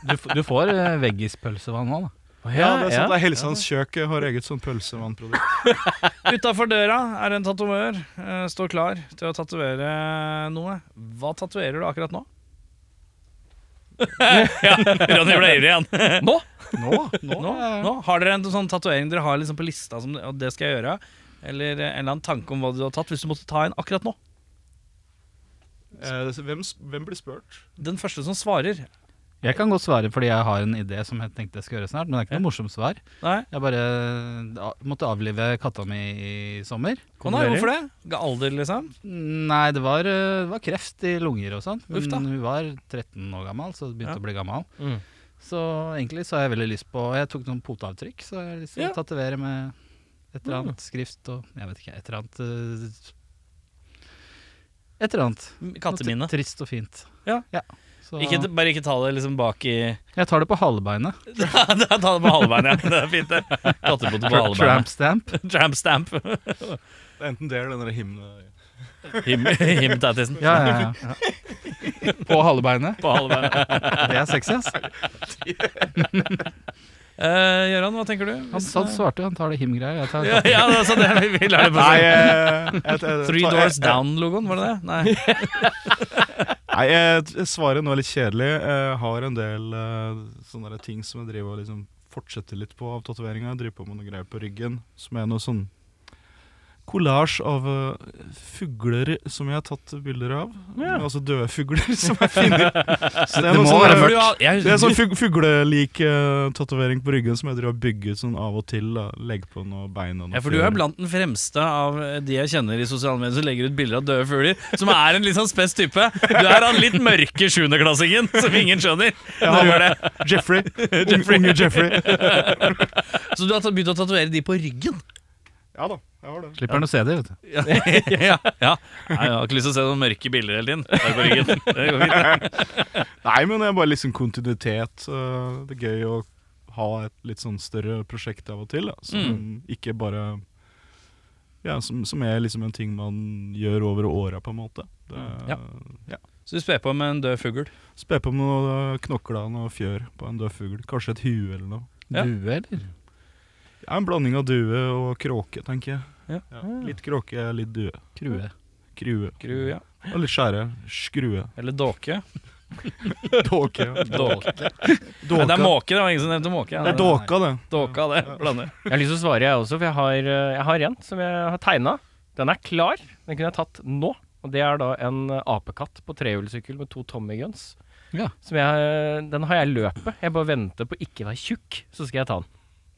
[SPEAKER 4] Du, f- du får eh, veggispølsevann nå,
[SPEAKER 3] Ja,
[SPEAKER 4] da.
[SPEAKER 3] det er sant. Det er Helsans Kjøkken har eget sånn pølsevannprodukt.
[SPEAKER 1] Utafor døra er en tatovør. eh, Står klar til å tatovere noe. Hva tatoverer du akkurat nå? [laughs] ja, Ronny ble ivrig igjen.
[SPEAKER 2] Nå?
[SPEAKER 4] Nå?
[SPEAKER 1] Nå, nå Har dere en sånn tatovering dere har liksom på lista, som, og det skal jeg gjøre? Eller eh, en eller annen tanke om hva du har tatt, hvis du måtte ta en akkurat nå?
[SPEAKER 3] Eh, så hvem, s- hvem blir spurt?
[SPEAKER 1] Den første som svarer.
[SPEAKER 4] Jeg kan godt svare fordi jeg har en idé som jeg tenkte jeg skulle gjøre snart, men det er ikke noe morsomt svar.
[SPEAKER 1] Nei?
[SPEAKER 4] Jeg bare eh, a- måtte avlive katta mi i sommer.
[SPEAKER 1] Å nei, hvorfor det? Ga Alder, liksom?
[SPEAKER 4] Nei, det var, eh, det var kreft i lunger og sånn. Men
[SPEAKER 1] Uff da.
[SPEAKER 4] hun var 13 år gammel, så det begynte
[SPEAKER 1] Ja.
[SPEAKER 4] å bli gammel.
[SPEAKER 2] Mm.
[SPEAKER 4] Så egentlig så har jeg veldig lyst på Jeg tok noen poteavtrykk, så jeg har lyst til
[SPEAKER 1] Ja.
[SPEAKER 4] å tatovere med Et eller annet skrift og Jeg vet ikke, et eller annet eh, Et eller annet. Noe
[SPEAKER 1] Kattemine.
[SPEAKER 4] tr- Trist og fint.
[SPEAKER 1] Ja.
[SPEAKER 4] Så,
[SPEAKER 1] Ikke, bare ikke ta det liksom bak i [laughs]
[SPEAKER 4] jeg tar det på halebeinet.
[SPEAKER 1] Ta det på halebeinet, ja. Det er fint, det. Kattepode på
[SPEAKER 4] Tra-
[SPEAKER 1] halebeinet.
[SPEAKER 4] Tramp stamp.
[SPEAKER 1] Tramp stamp.
[SPEAKER 3] Det er enten det eller den hymnen.
[SPEAKER 1] Him, himtattisen
[SPEAKER 4] Ja, ja, ja,
[SPEAKER 1] [laughs]
[SPEAKER 4] ja. På halebeinet.
[SPEAKER 1] på halebeinet.
[SPEAKER 4] Det er sexy, ass.
[SPEAKER 1] Eh, Gøran, hva tenker du?
[SPEAKER 4] Han,
[SPEAKER 1] Hvis-
[SPEAKER 4] han svarte jo, han tar det him-greia. Jeg tar
[SPEAKER 1] ja, ja, det er så det vi, vi lar det på
[SPEAKER 3] Nei, eh,
[SPEAKER 1] seg.
[SPEAKER 3] jeg, jeg, jeg,
[SPEAKER 1] Three Doors Down-logoen, var det det? Nei.
[SPEAKER 3] Nei, jeg, jeg svarer nå litt kjedelig. Jeg har en del eh, sånne der ting som jeg driver og liksom fortsetter litt på av tatoveringa. Jeg driver på med noe greier på ryggen som er noe sånn kollasj av eh, fugler som jeg har tatt bilder av. Altså døde fugler [laughs] som jeg finner. Så det er noe sånn-
[SPEAKER 1] For du har- jeg-
[SPEAKER 3] det er sånn fug fuglelik uh, tatovering på ryggen som jeg driver og bygger sånn av og til. Da. Legger på noe bein og noe
[SPEAKER 1] Ja, for du er
[SPEAKER 3] fjær.
[SPEAKER 1] blant den fremste av de jeg kjenner i sosiale medier som legger ut bilder av døde fugler, som er en litt sånn spess type. Du er han litt mørke sjuendeklassingen som ingen skjønner.
[SPEAKER 3] Ja,
[SPEAKER 1] Når
[SPEAKER 3] han
[SPEAKER 1] du
[SPEAKER 3] er
[SPEAKER 1] gjør det. [laughs]
[SPEAKER 3] [laughs] Jeffrey. Jeffrey. Unge Jeffrey.
[SPEAKER 1] Så du har tatt- begynt å tatovere de på ryggen?
[SPEAKER 3] Ja da, jeg har det.
[SPEAKER 4] Slipper han å se det, vet du.
[SPEAKER 3] [laughs]
[SPEAKER 1] Ja. ja. ja. Nei, jeg har ikke lyst til å se noen mørke bilder hele tiden. Bare på ryggen. Det går fint.
[SPEAKER 3] Nei, men det er bare liksom kontinuitet. øh, Det er gøy å ha et litt sånn større prosjekt av og til. Da, som
[SPEAKER 1] Mm.
[SPEAKER 3] ikke bare Ja, som, som er liksom en ting man gjør over åra, på en måte. Det er, ja.
[SPEAKER 1] Så du sper på med en død fugl.
[SPEAKER 3] Spe på med noe knokler og fjør på en død fugl. Kanskje et hue eller noe.
[SPEAKER 1] Ja.
[SPEAKER 4] Due, eller?
[SPEAKER 3] Det er en blanding av due og kråke, tenker jeg.
[SPEAKER 1] Ja.
[SPEAKER 3] Litt kråke, litt due.
[SPEAKER 4] Krue.
[SPEAKER 3] Krue.
[SPEAKER 1] Gru, ja.
[SPEAKER 3] Og litt skjære. [laughs] Skrue.
[SPEAKER 1] Eller dåke.
[SPEAKER 3] Dåke. ja.
[SPEAKER 1] Dåke. Nei, det
[SPEAKER 3] Dåka.
[SPEAKER 1] er måke, det var ingen som nevnte måke.
[SPEAKER 3] Det er dåka, det.
[SPEAKER 1] Dåka, det. Blander.
[SPEAKER 2] Jeg har lyst til å svare, jeg også, for jeg har, eh, jeg har en som jeg har tegna. Den er klar. Den kunne jeg tatt nå. Og det er da en eh, apekatt på trehjulssykkel med to Tommy Guns.
[SPEAKER 4] Ja.
[SPEAKER 2] Som jeg, den har jeg i løpet. Jeg bare venter på ikke å være tjukk, så skal jeg ta den.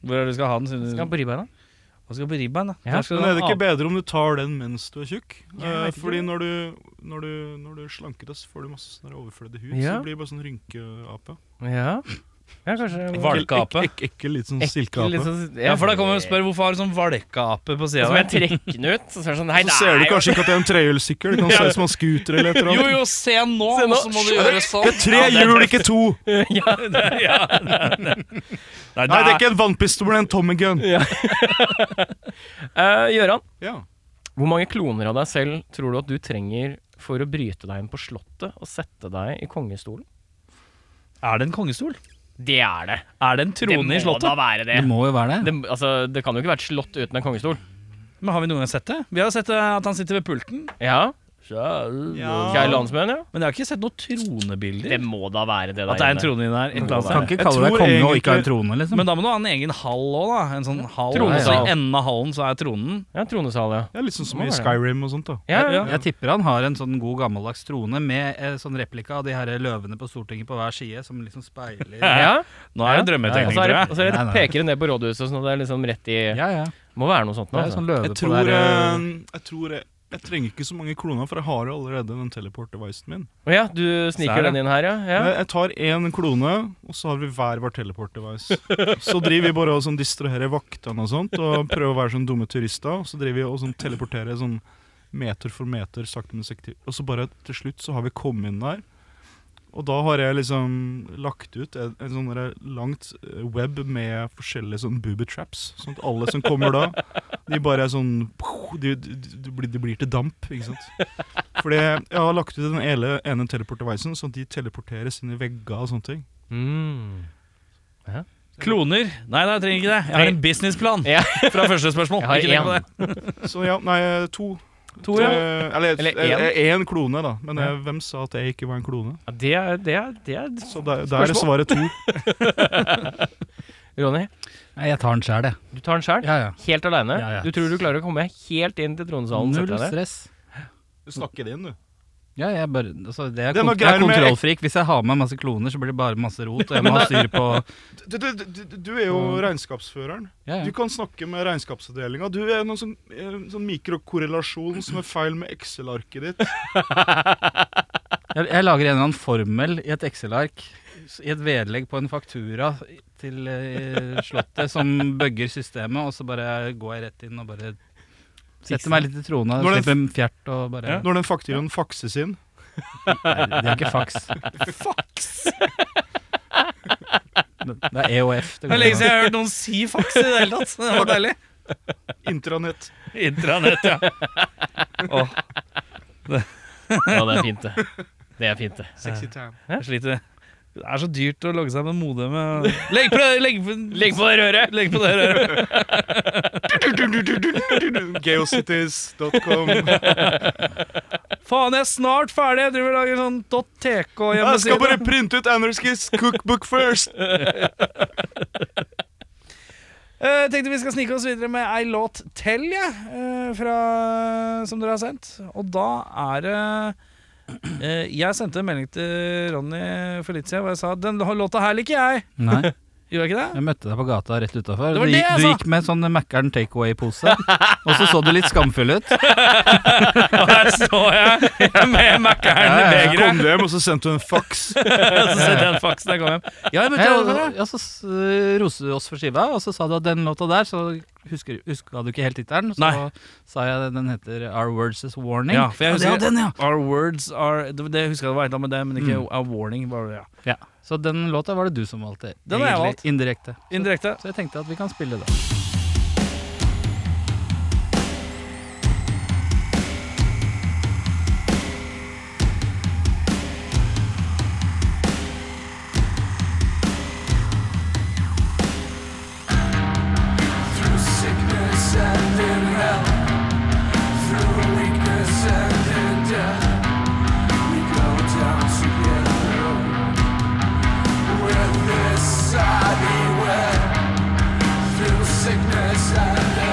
[SPEAKER 1] Hvor er det du skal ha den?
[SPEAKER 2] Skal
[SPEAKER 1] Siden
[SPEAKER 2] han
[SPEAKER 1] du...
[SPEAKER 2] på ribbeina?
[SPEAKER 1] Hva skal på ribbein, da?
[SPEAKER 2] Ja.
[SPEAKER 1] Der skal du
[SPEAKER 3] Men
[SPEAKER 1] ha
[SPEAKER 3] er det ikke
[SPEAKER 1] ape.
[SPEAKER 3] bedre om du tar den mens du er tjukk?
[SPEAKER 2] Ja, jeg
[SPEAKER 3] Eh,
[SPEAKER 2] vet ikke
[SPEAKER 3] fordi
[SPEAKER 2] det.
[SPEAKER 3] når du, når, du, når du slanker deg, så får du masse sånn der overflødig hud. Så
[SPEAKER 2] Ja.
[SPEAKER 3] det blir bare sånn rynkeape.
[SPEAKER 2] Ja. ja, kanskje
[SPEAKER 1] Valkeape.
[SPEAKER 3] Ek, ek, ekkel, litt sånn
[SPEAKER 2] Ekkel,
[SPEAKER 3] silkeape.
[SPEAKER 2] litt sånn-
[SPEAKER 1] Ja, for da kommer hun og spør hvorfor har du sånn valkeape på
[SPEAKER 2] Så
[SPEAKER 1] sida
[SPEAKER 2] må jeg
[SPEAKER 1] der.
[SPEAKER 2] trekke den ut. Så, er det sånn, nei,
[SPEAKER 3] Så ser du
[SPEAKER 2] nei,
[SPEAKER 3] kanskje ikke at det er en trehjulssykkel. Det [laughs] kan se ut som en scooter eller et eller
[SPEAKER 1] Jo,
[SPEAKER 3] annet.
[SPEAKER 1] jo, se nå,
[SPEAKER 2] Se nå.
[SPEAKER 1] og så må du gjøre sånn.
[SPEAKER 3] Det er tre
[SPEAKER 1] Ja, det er
[SPEAKER 3] hjul,
[SPEAKER 1] tøft.
[SPEAKER 3] ikke [laughs] to!
[SPEAKER 1] ja, det, ja, det, det. Nei,
[SPEAKER 3] Nei, det er ikke en vannpistol, det er en Tommy Gun.
[SPEAKER 2] Eh, Gøran,
[SPEAKER 3] Ja.
[SPEAKER 2] hvor mange kloner av deg selv tror du at du trenger for å bryte deg inn på Slottet og sette deg i kongestolen?
[SPEAKER 1] er det en kongestol?
[SPEAKER 2] Det er det.
[SPEAKER 1] Er det en trone i
[SPEAKER 2] Det må
[SPEAKER 1] slottet?
[SPEAKER 2] da være det.
[SPEAKER 4] Det må jo være det.
[SPEAKER 2] Det, altså, det kan jo ikke være et slott uten en kongestol.
[SPEAKER 1] Men Har vi noen gang sett det? Vi har sett eh, at han sitter ved pulten.
[SPEAKER 2] Ja, Kjære
[SPEAKER 3] Ja.
[SPEAKER 2] landsmenn, ja.
[SPEAKER 1] Men jeg har ikke sett noen tronebilder.
[SPEAKER 2] Det må da være det der.
[SPEAKER 1] At det er en
[SPEAKER 2] inne.
[SPEAKER 1] trone inni der. Et eller
[SPEAKER 2] Kan
[SPEAKER 1] annet
[SPEAKER 4] Kan
[SPEAKER 1] sted.
[SPEAKER 4] ikke
[SPEAKER 3] Jeg
[SPEAKER 4] kalle deg
[SPEAKER 3] tror
[SPEAKER 4] konge og
[SPEAKER 3] egentlig-
[SPEAKER 4] ikke ha en trone, liksom.
[SPEAKER 1] Men da må du ha en egen hall òg, da. En sånn hall.
[SPEAKER 2] Tronesal.
[SPEAKER 1] Så I enden av hallen så er tronen.
[SPEAKER 2] Ja, tronesal, ja.
[SPEAKER 3] Det er litt sånn som
[SPEAKER 2] Må
[SPEAKER 3] i
[SPEAKER 2] være.
[SPEAKER 3] Skyrim og sånt, da.
[SPEAKER 2] Ja, ja.
[SPEAKER 1] Ja.
[SPEAKER 4] Jeg tipper han har en sånn god gammeldags trone med eh, sånn replika av de her løvene på Stortinget på hver side, som liksom [laughs] speiler
[SPEAKER 2] ja.
[SPEAKER 1] Nå er det
[SPEAKER 2] Og
[SPEAKER 1] drømmetenkning,
[SPEAKER 2] så
[SPEAKER 1] tror
[SPEAKER 2] er det,
[SPEAKER 1] jeg.
[SPEAKER 2] og så er det
[SPEAKER 4] Nei, nei.
[SPEAKER 2] peker det ned på rådhuset, sånn at det er liksom rett i
[SPEAKER 4] Ja, ja.
[SPEAKER 2] Må være noe sånt nå.
[SPEAKER 4] Det er
[SPEAKER 2] Altså.
[SPEAKER 4] sånn løve
[SPEAKER 3] Jeg
[SPEAKER 4] på
[SPEAKER 3] tror,
[SPEAKER 4] der eh,
[SPEAKER 3] eh, jeg, tror jeg, jeg trenger ikke så mange kloner, for jeg har jo allerede den teleport-devicen min.
[SPEAKER 2] Å ja, du sniker
[SPEAKER 1] Så er det.
[SPEAKER 2] den inn her, ja.
[SPEAKER 3] Jeg,
[SPEAKER 2] ja.
[SPEAKER 3] Eh, jeg tar én klone, og så har vi hver vår teleport-device. Så driver vi bare og sånn distraherer vaktene og sånt, og prøver å være sånn dumme turister. Og så driver vi og sånn teleporterer sånn meter for meter, sakte, men sikkert. Og så bare til slutt så har vi kommet inn der. Og da har jeg liksom lagt ut en, en sånn der langt eh, web med forskjellige sånn booby traps. Sånn at alle som kommer da, de bare er sånn De, de, de, blir, de blir til damp, ikke sant. Fordi jeg har lagt ut den ene, ene teleporterveisen, sånn at de teleporteres inn i vegger og sånne ting.
[SPEAKER 2] Mm.
[SPEAKER 1] Kloner? Nei, nei, jeg trenger ikke det. Jeg har en businessplan
[SPEAKER 2] Ja.
[SPEAKER 1] fra første spørsmål.
[SPEAKER 2] Jeg har
[SPEAKER 1] Ikke tenk på
[SPEAKER 2] én.
[SPEAKER 1] det.
[SPEAKER 3] Så ja, nei, to.
[SPEAKER 2] To, ja.
[SPEAKER 3] Eh, Eller,
[SPEAKER 2] Eller
[SPEAKER 3] eller én klone, da. Men eh, hvem sa at jeg ikke var en klone?
[SPEAKER 2] Ja, Det er, det er, det er
[SPEAKER 3] Så der, der er
[SPEAKER 2] Spørsmål?
[SPEAKER 3] svaret to.
[SPEAKER 2] Ronny,
[SPEAKER 4] Nei, jeg tar den sjæl, jeg.
[SPEAKER 2] du tar den sjæl.
[SPEAKER 4] Ja, ja.
[SPEAKER 2] Helt aleine.
[SPEAKER 4] Ja, ja.
[SPEAKER 2] Du tror du klarer å komme helt inn til tronesalen?
[SPEAKER 4] Null
[SPEAKER 2] setter deg der.
[SPEAKER 4] stress.
[SPEAKER 3] Du snakker det inn, du.
[SPEAKER 4] Ja, jeg bare, altså, det er,
[SPEAKER 3] Det er noe
[SPEAKER 4] kont jeg er
[SPEAKER 3] greier med-
[SPEAKER 4] kontrollfrik. Hvis jeg har med masse kloner, så blir det bare masse rot. Og jeg må ha styr på [laughs]
[SPEAKER 3] Du, du, du, du er jo regnskapsføreren.
[SPEAKER 4] ja,
[SPEAKER 3] Du
[SPEAKER 4] ja.
[SPEAKER 3] kan snakke med regnskapsavdelinga. Du er noen sånn, eh, sånn mikrokorrelasjon som er feil med Excel-arket ditt.
[SPEAKER 4] Jeg, jeg lager en eller annen formel i et Excel-ark i et vedlegg på en faktura til eh, Slottet som bøgger systemet, og så bare går jeg rett inn og bare setter meg litt i trona,
[SPEAKER 3] Når det-
[SPEAKER 4] slipper en fjert og bare
[SPEAKER 3] Når den fakturaen fakses inn
[SPEAKER 4] Nei, det er ikke faks. Det er EOF.
[SPEAKER 1] Det er lenge siden jeg har hørt noen si faks i det hele tatt. Det var deilig.
[SPEAKER 3] Intranett.
[SPEAKER 1] Intranett, ja. Åh,
[SPEAKER 2] Ja, det er fint, det. Det er fint, det.
[SPEAKER 3] Sexy time.
[SPEAKER 1] jeg sliter. Det er så dyrt å logge seg med modemet. Legg på, legg,
[SPEAKER 2] Legg på det røret!
[SPEAKER 1] legg på det røret.
[SPEAKER 3] Geocities.com.
[SPEAKER 1] Faen, jeg er snart ferdig. Jeg driver og lager sånn
[SPEAKER 3] Jeg skal
[SPEAKER 1] .tk-hjemmeside.
[SPEAKER 3] bare printe ut Anarchist cookbook first.
[SPEAKER 1] Eh, Jeg tenkte vi skal snike oss videre med ei låt til, ja, eh, fra, som dere har sendt. Og da er det eh, Jeg sendte en melding til Ronny for litt siden hvor jeg sa den låta her liker jeg.
[SPEAKER 4] Nei,
[SPEAKER 1] Gjorde jeg ikke [laughs] det?
[SPEAKER 4] jeg møtte deg på gata rett utafor.
[SPEAKER 1] Det var
[SPEAKER 4] Du,
[SPEAKER 1] det altså.
[SPEAKER 4] gikk-
[SPEAKER 1] jeg
[SPEAKER 4] du
[SPEAKER 1] sa.
[SPEAKER 4] gikk med sånn Mækkern takeaway-pose, og så så du litt skamfull ut.
[SPEAKER 1] Og her står jeg med Mac-eren i
[SPEAKER 3] Jeg
[SPEAKER 1] begeret.
[SPEAKER 3] kom hjem, og så sendte hun en fax.
[SPEAKER 1] Så sendte jeg en faks da jeg kom hjem. Ja, jeg møtte
[SPEAKER 4] Ja,
[SPEAKER 1] deg der.
[SPEAKER 4] Eh, og- ja, så s- eh, roste du oss for skiva, og så sa du at den låta der, så husker, huska du ikke helt tittelen. Så
[SPEAKER 1] Nei.
[SPEAKER 4] sa jeg den heter Our Words Is Warning.
[SPEAKER 1] Ja, for jeg
[SPEAKER 4] ja,
[SPEAKER 1] husker-
[SPEAKER 4] den, ja.
[SPEAKER 1] Our words are Det, det husker jeg det var et eller annet med det, men ikke a warning. Bare, ja.
[SPEAKER 4] ja. Så den låta var det du som valgte.
[SPEAKER 1] Den har jeg
[SPEAKER 4] egentlig,
[SPEAKER 1] valgt.
[SPEAKER 4] Indirekte. Så,
[SPEAKER 1] Indirekte.
[SPEAKER 4] så jeg tenkte at vi kan spille det.
[SPEAKER 5] Sickness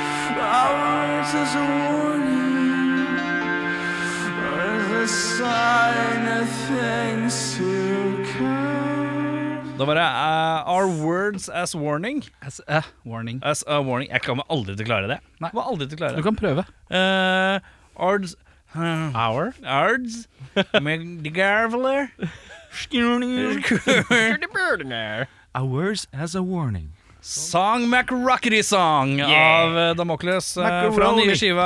[SPEAKER 5] comes as a warning, or as a sign of things to come.
[SPEAKER 1] Da var det eh, Our words as warning.
[SPEAKER 4] As a warning.
[SPEAKER 1] As a warning. Jeg kommer aldri til å klare det.
[SPEAKER 4] Nei.
[SPEAKER 1] Jeg kommer aldri til å
[SPEAKER 4] Du
[SPEAKER 1] klare det.
[SPEAKER 4] kan prøve.
[SPEAKER 1] Eh, ards eh,
[SPEAKER 2] Hour?
[SPEAKER 4] [laughs]
[SPEAKER 1] Ards McGarveler
[SPEAKER 3] Hours as a warning.
[SPEAKER 1] Song McRockety Song av eh, Damocles eh, fra
[SPEAKER 2] Macaroni.
[SPEAKER 1] nye skiva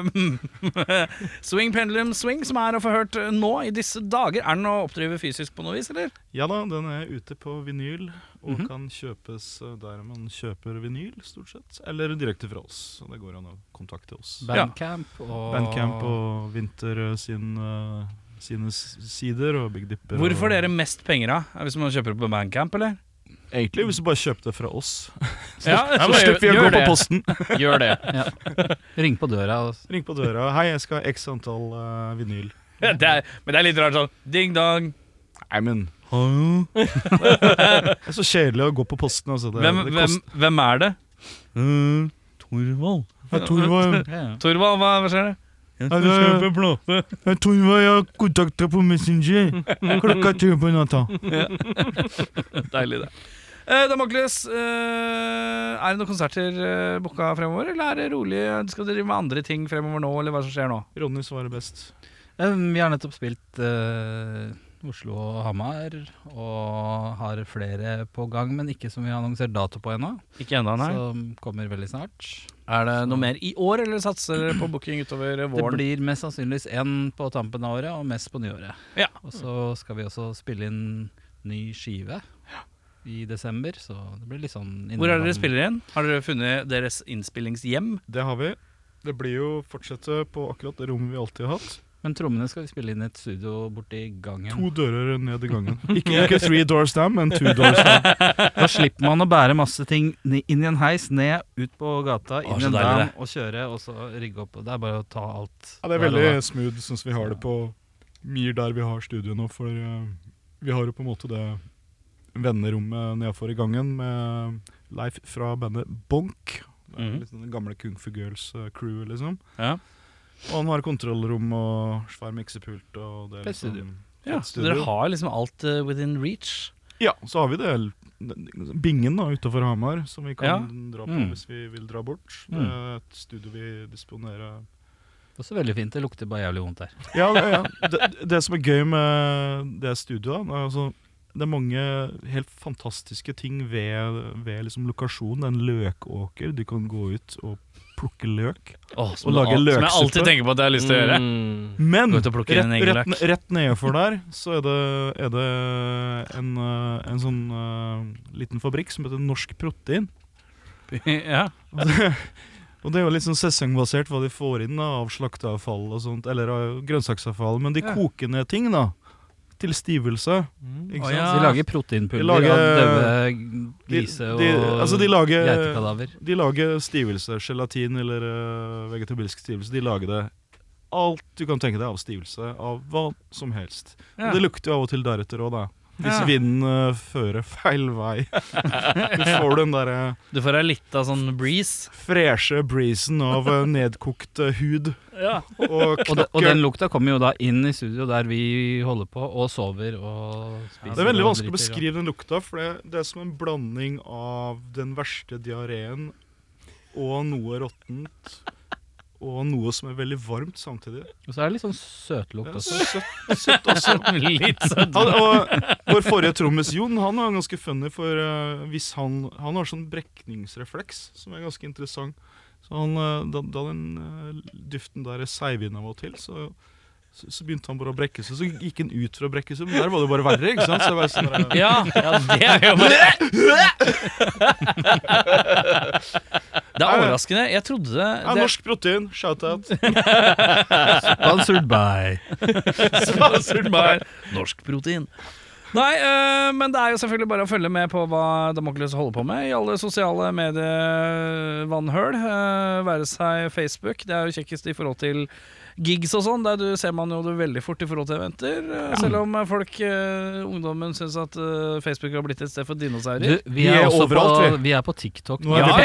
[SPEAKER 1] eh, [laughs] Swing Pendulum Swing, som er å få hørt eh, nå i disse dager. Er den å oppdrive fysisk på noe vis, eller?
[SPEAKER 3] Ja da, den er ute på vinyl og
[SPEAKER 1] Mhm.
[SPEAKER 3] kan kjøpes eh, der man kjøper vinyl, stort sett. Eller direkte fra oss. Så det går an å kontakte oss.
[SPEAKER 4] Bandcamp og
[SPEAKER 3] Bandcamp og Winter eh, sin, eh, sine s- sider og Big Dipper.
[SPEAKER 1] Hvorfor
[SPEAKER 3] og,
[SPEAKER 1] dere mest penger av? Er det Hvis man kjøper det på Bandcamp, eller?
[SPEAKER 3] Egentlig
[SPEAKER 4] [laughs]
[SPEAKER 3] hvis du bare kjøpte det fra oss.
[SPEAKER 1] Ja,
[SPEAKER 3] Så slipper vi å
[SPEAKER 2] gjør
[SPEAKER 3] gå på
[SPEAKER 2] det.
[SPEAKER 3] posten.
[SPEAKER 2] Gjør det.
[SPEAKER 4] Ring på døra. og-
[SPEAKER 3] Ring på døra. Hei, jeg skal ha x antall eh, vinyl.
[SPEAKER 1] [laughs] det er, men det er litt rart sånn ding-dong.
[SPEAKER 3] Nei, men hallo? [laughs] Det er så kjedelig å gå på posten, altså. Det,
[SPEAKER 1] Hvem,
[SPEAKER 3] det
[SPEAKER 1] hvem,
[SPEAKER 3] kost-
[SPEAKER 1] hvem er det?
[SPEAKER 3] Torvald. Mm. Ja, Torvald.
[SPEAKER 1] Torvald, hva, hva skjer det?
[SPEAKER 3] Ja, det er- Ja, Torvald, jeg har kontakta på Messenger klokka tre på natta.
[SPEAKER 1] Deilig, det. Eh, Damokles, eh, er det noen konserter eh, booka fremover, eller er det rolig? Skal dere drive med andre ting fremover nå, eller hva som skjer nå?
[SPEAKER 3] Ronny svarer best.
[SPEAKER 4] Um, Vi har nettopp spilt eh, Oslo og Hamar, og har flere på gang, men ikke som vi har annonsert dato på ennå.
[SPEAKER 1] Ikke ennå, nei.
[SPEAKER 4] Som kommer veldig snart.
[SPEAKER 1] er det noe mer i år, eller satser dere på booking utover eh,
[SPEAKER 4] Det
[SPEAKER 1] våren?
[SPEAKER 4] blir mest sannsynligvis én på tampen av året, og mest på nyåret.
[SPEAKER 1] Ja.
[SPEAKER 4] Og så skal vi også spille inn ny skive i desember, så det blir litt sånn
[SPEAKER 1] Hvor er det
[SPEAKER 4] innimellom.
[SPEAKER 1] dere spiller igjen? Har dere funnet deres innspillingshjem?
[SPEAKER 3] Det har vi. Det blir jo fortsette på akkurat det rommet vi alltid har hatt.
[SPEAKER 4] Men trommene skal vi spille inn i et studio borti gangen.
[SPEAKER 3] To dører ned i gangen. Ikke, ikke three doors down, men two doors down.
[SPEAKER 4] Da slipper man å bære masse ting ni- inn i en heis, ned, ut på gata, inn i
[SPEAKER 1] så
[SPEAKER 4] en
[SPEAKER 1] deilig
[SPEAKER 4] dam og kjøre, og så rigge opp. og Det er bare å ta alt.
[SPEAKER 3] Ja, det er
[SPEAKER 4] der og
[SPEAKER 3] veldig
[SPEAKER 4] da.
[SPEAKER 3] smooth sånn som vi har det på Myr der vi har studio nå, for eh, vi har jo på en måte det vennerommet nedafor i gangen med Leif fra bandet Bonk. Det er
[SPEAKER 1] Mhm.
[SPEAKER 3] Litt sånn gamle Kung Fu Girls-crew, liksom.
[SPEAKER 1] Ja.
[SPEAKER 3] Og han har kontrollrom og svær miksepult og det er
[SPEAKER 4] Fett
[SPEAKER 3] liksom
[SPEAKER 4] studio.
[SPEAKER 1] ja.
[SPEAKER 3] fett
[SPEAKER 1] Så dere har liksom alt eh, within reach?
[SPEAKER 3] Ja, så har vi det l- bingen da utafor Hamar som vi kan
[SPEAKER 1] Ja.
[SPEAKER 3] dra på
[SPEAKER 4] Mm.
[SPEAKER 3] hvis vi vil dra bort. Det
[SPEAKER 4] Mm.
[SPEAKER 3] er et studio vi disponerer
[SPEAKER 4] Det er Også veldig fint. Det lukter bare jævlig vondt her.
[SPEAKER 3] Ja, ja, ja. Det, det som er gøy med det studioet, er altså det er mange helt fantastiske ting ved, ved liksom lokasjonen. Det er en løkåker. Du kan gå ut og plukke løk.
[SPEAKER 1] Åh,
[SPEAKER 3] Og
[SPEAKER 1] al-
[SPEAKER 3] lage
[SPEAKER 1] Som jeg
[SPEAKER 3] løksuppe.
[SPEAKER 1] alltid tenker på at jeg har lyst til å gjøre.
[SPEAKER 2] Mm.
[SPEAKER 3] Men
[SPEAKER 1] Gå
[SPEAKER 3] rett,
[SPEAKER 1] ut og plukke din egen
[SPEAKER 3] rett,
[SPEAKER 1] løk.
[SPEAKER 3] rett nedenfor der så er det, er det en, eh, en sånn eh, liten fabrikk som heter Norsk Protein. [laughs]
[SPEAKER 1] Mm. [laughs] ja.
[SPEAKER 3] Og det- Og det er jo litt sånn sesongbasert hva de får inn da, av slakteavfall og sånt, eller av grønnsaksavfall. Men de
[SPEAKER 1] Ja.
[SPEAKER 3] koker ned ting da, til stivelse. Ikke
[SPEAKER 1] Å,
[SPEAKER 3] sant?
[SPEAKER 1] ja.
[SPEAKER 4] Så de lager proteinpulver
[SPEAKER 3] De lager-
[SPEAKER 4] av døde grise
[SPEAKER 3] de,
[SPEAKER 4] og
[SPEAKER 3] altså de lager,
[SPEAKER 4] geitekadaver.
[SPEAKER 3] de lager stivelse, gelatin eller eh, vegetabilsk stivelse. De lager det alt du kan tenke deg av stivelse, av hva som helst.
[SPEAKER 1] Ja.
[SPEAKER 3] Og det lukter jo av og til deretter òg, da. Hvis
[SPEAKER 1] Ja.
[SPEAKER 3] vinden eh, fører
[SPEAKER 1] [laughs]
[SPEAKER 3] feil vei. Du får den derre
[SPEAKER 1] Du får deg litt av sånn breeze.
[SPEAKER 3] freshe breezen av eh, nedkokt eh, hud
[SPEAKER 1] Ja.
[SPEAKER 3] og
[SPEAKER 4] Og, de, og den
[SPEAKER 3] knokkel.
[SPEAKER 4] lukta kommer jo da inn i studio der vi holder på og sover og spiser.
[SPEAKER 3] Det er veldig vanskelig å
[SPEAKER 4] og driter, ja.
[SPEAKER 3] beskrive den lukta, for det, det er som en blanding av den verste diareen og noe råttent og noe som er veldig varmt samtidig.
[SPEAKER 4] Og så er det litt sånn
[SPEAKER 3] Ja,
[SPEAKER 4] søtlukt også.
[SPEAKER 3] søtt, søtt også.
[SPEAKER 1] litt sånn.
[SPEAKER 3] Han, og vår forrige trommis Jon han var ganske funny, for eh, hvis han, han har sånn brekningsrefleks som er ganske interessant. Så han, eh, da, da den eh, duften der seiv inn av og til, så, så, så begynte han bare å brekke seg. Så gikk han ut fra å brekke seg, men der var det jo bare verre. ikke sant? Så jeg var sånn der, eh,
[SPEAKER 1] Ja, det er
[SPEAKER 2] [laughs]
[SPEAKER 1] jo bare Det er overraskende. Jeg trodde det,
[SPEAKER 3] ja, norsk protein,
[SPEAKER 1] [laughs]
[SPEAKER 3] shout-out.
[SPEAKER 4] Sponsored by.
[SPEAKER 1] [laughs] Sponsored by Norsk Protein. Nei, øh, men det er jo selvfølgelig bare å følge med på hva Damocles holder på med i alle sosiale medievannhøl. Øh, være seg Facebook, det er jo kjekkest i forhold til gigs og sånn. Der du ser man jo det veldig fort i forhold til eventer. øh, Selv om øh, folk, øh, ungdommen, syns at øh, Facebook har blitt et sted for dinosaurer.
[SPEAKER 4] Du, vi, er
[SPEAKER 3] er
[SPEAKER 4] også
[SPEAKER 3] overalt,
[SPEAKER 4] på, vi er på TikTok.
[SPEAKER 3] Nå er vi på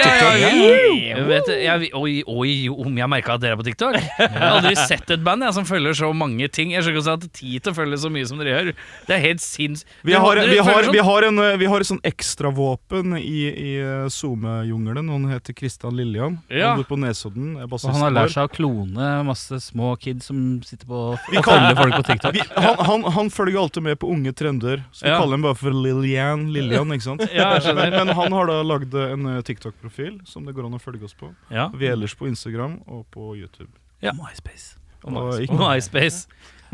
[SPEAKER 1] Jeg vet, jeg, oi, oi, om jeg merka at dere er på TikTok. Jeg har aldri sett et band jeg, som følger så mange ting. Jeg skjønner ikke at det er tid til å følge så mye som dere gjør. Det er helt sinns...
[SPEAKER 3] Vi
[SPEAKER 1] Dere-
[SPEAKER 3] har,
[SPEAKER 1] dere
[SPEAKER 3] vi, har,
[SPEAKER 1] følger
[SPEAKER 3] vi,
[SPEAKER 1] sånn-
[SPEAKER 3] har en, eh, vi har et sånn ekstravåpen i, i eh, SoMe-jungelen. Han heter Kristian Lillian.
[SPEAKER 1] Ja.
[SPEAKER 3] Han bor på Nesodden. er
[SPEAKER 4] Og han har
[SPEAKER 3] bassisten
[SPEAKER 4] lært
[SPEAKER 3] vår.
[SPEAKER 4] seg å klone masse små kids som sitter på og
[SPEAKER 3] Vi
[SPEAKER 4] følger folk på TikTok.
[SPEAKER 3] Vi, han, han, han følger alltid med på unge trender, så vi
[SPEAKER 1] Ja.
[SPEAKER 3] kaller ham bare for Lillian. Lillian ikke sant?
[SPEAKER 1] [laughs] Ja, jeg skjønner.
[SPEAKER 3] men, men han har da lagd en eh, TikTok-profil som det går an å følge oss på.
[SPEAKER 1] sånn- Ja.
[SPEAKER 3] Vi er ellers på Instagram og på YouTube.
[SPEAKER 1] Ja.
[SPEAKER 4] MySpace.
[SPEAKER 3] Og
[SPEAKER 1] Og
[SPEAKER 3] ikke-
[SPEAKER 1] MySpace.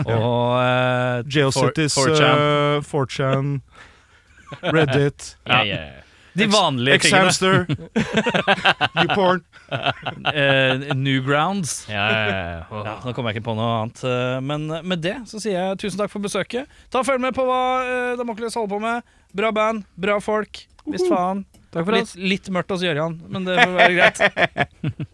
[SPEAKER 1] Og eh,
[SPEAKER 3] Geocities,
[SPEAKER 1] 4chan.
[SPEAKER 3] 4chan,
[SPEAKER 1] [laughs]
[SPEAKER 3] 4chan Reddit,
[SPEAKER 1] Ja. De vanlige tingene.
[SPEAKER 3] [laughs] Xhamster, YouPorn.
[SPEAKER 1] Eh, Newgrounds.
[SPEAKER 2] Ja, ja, ja.
[SPEAKER 1] Ja, nå kommer jeg ikke på noe annet. eh, Men med det så sier jeg tusen takk for besøket. Ta og Følg med på hva eh, Damocles holder på med. Bra band, bra folk. Visst faen.
[SPEAKER 2] Takk for oss.
[SPEAKER 1] Litt, litt mørkt hos Gjøran, men det får være greit.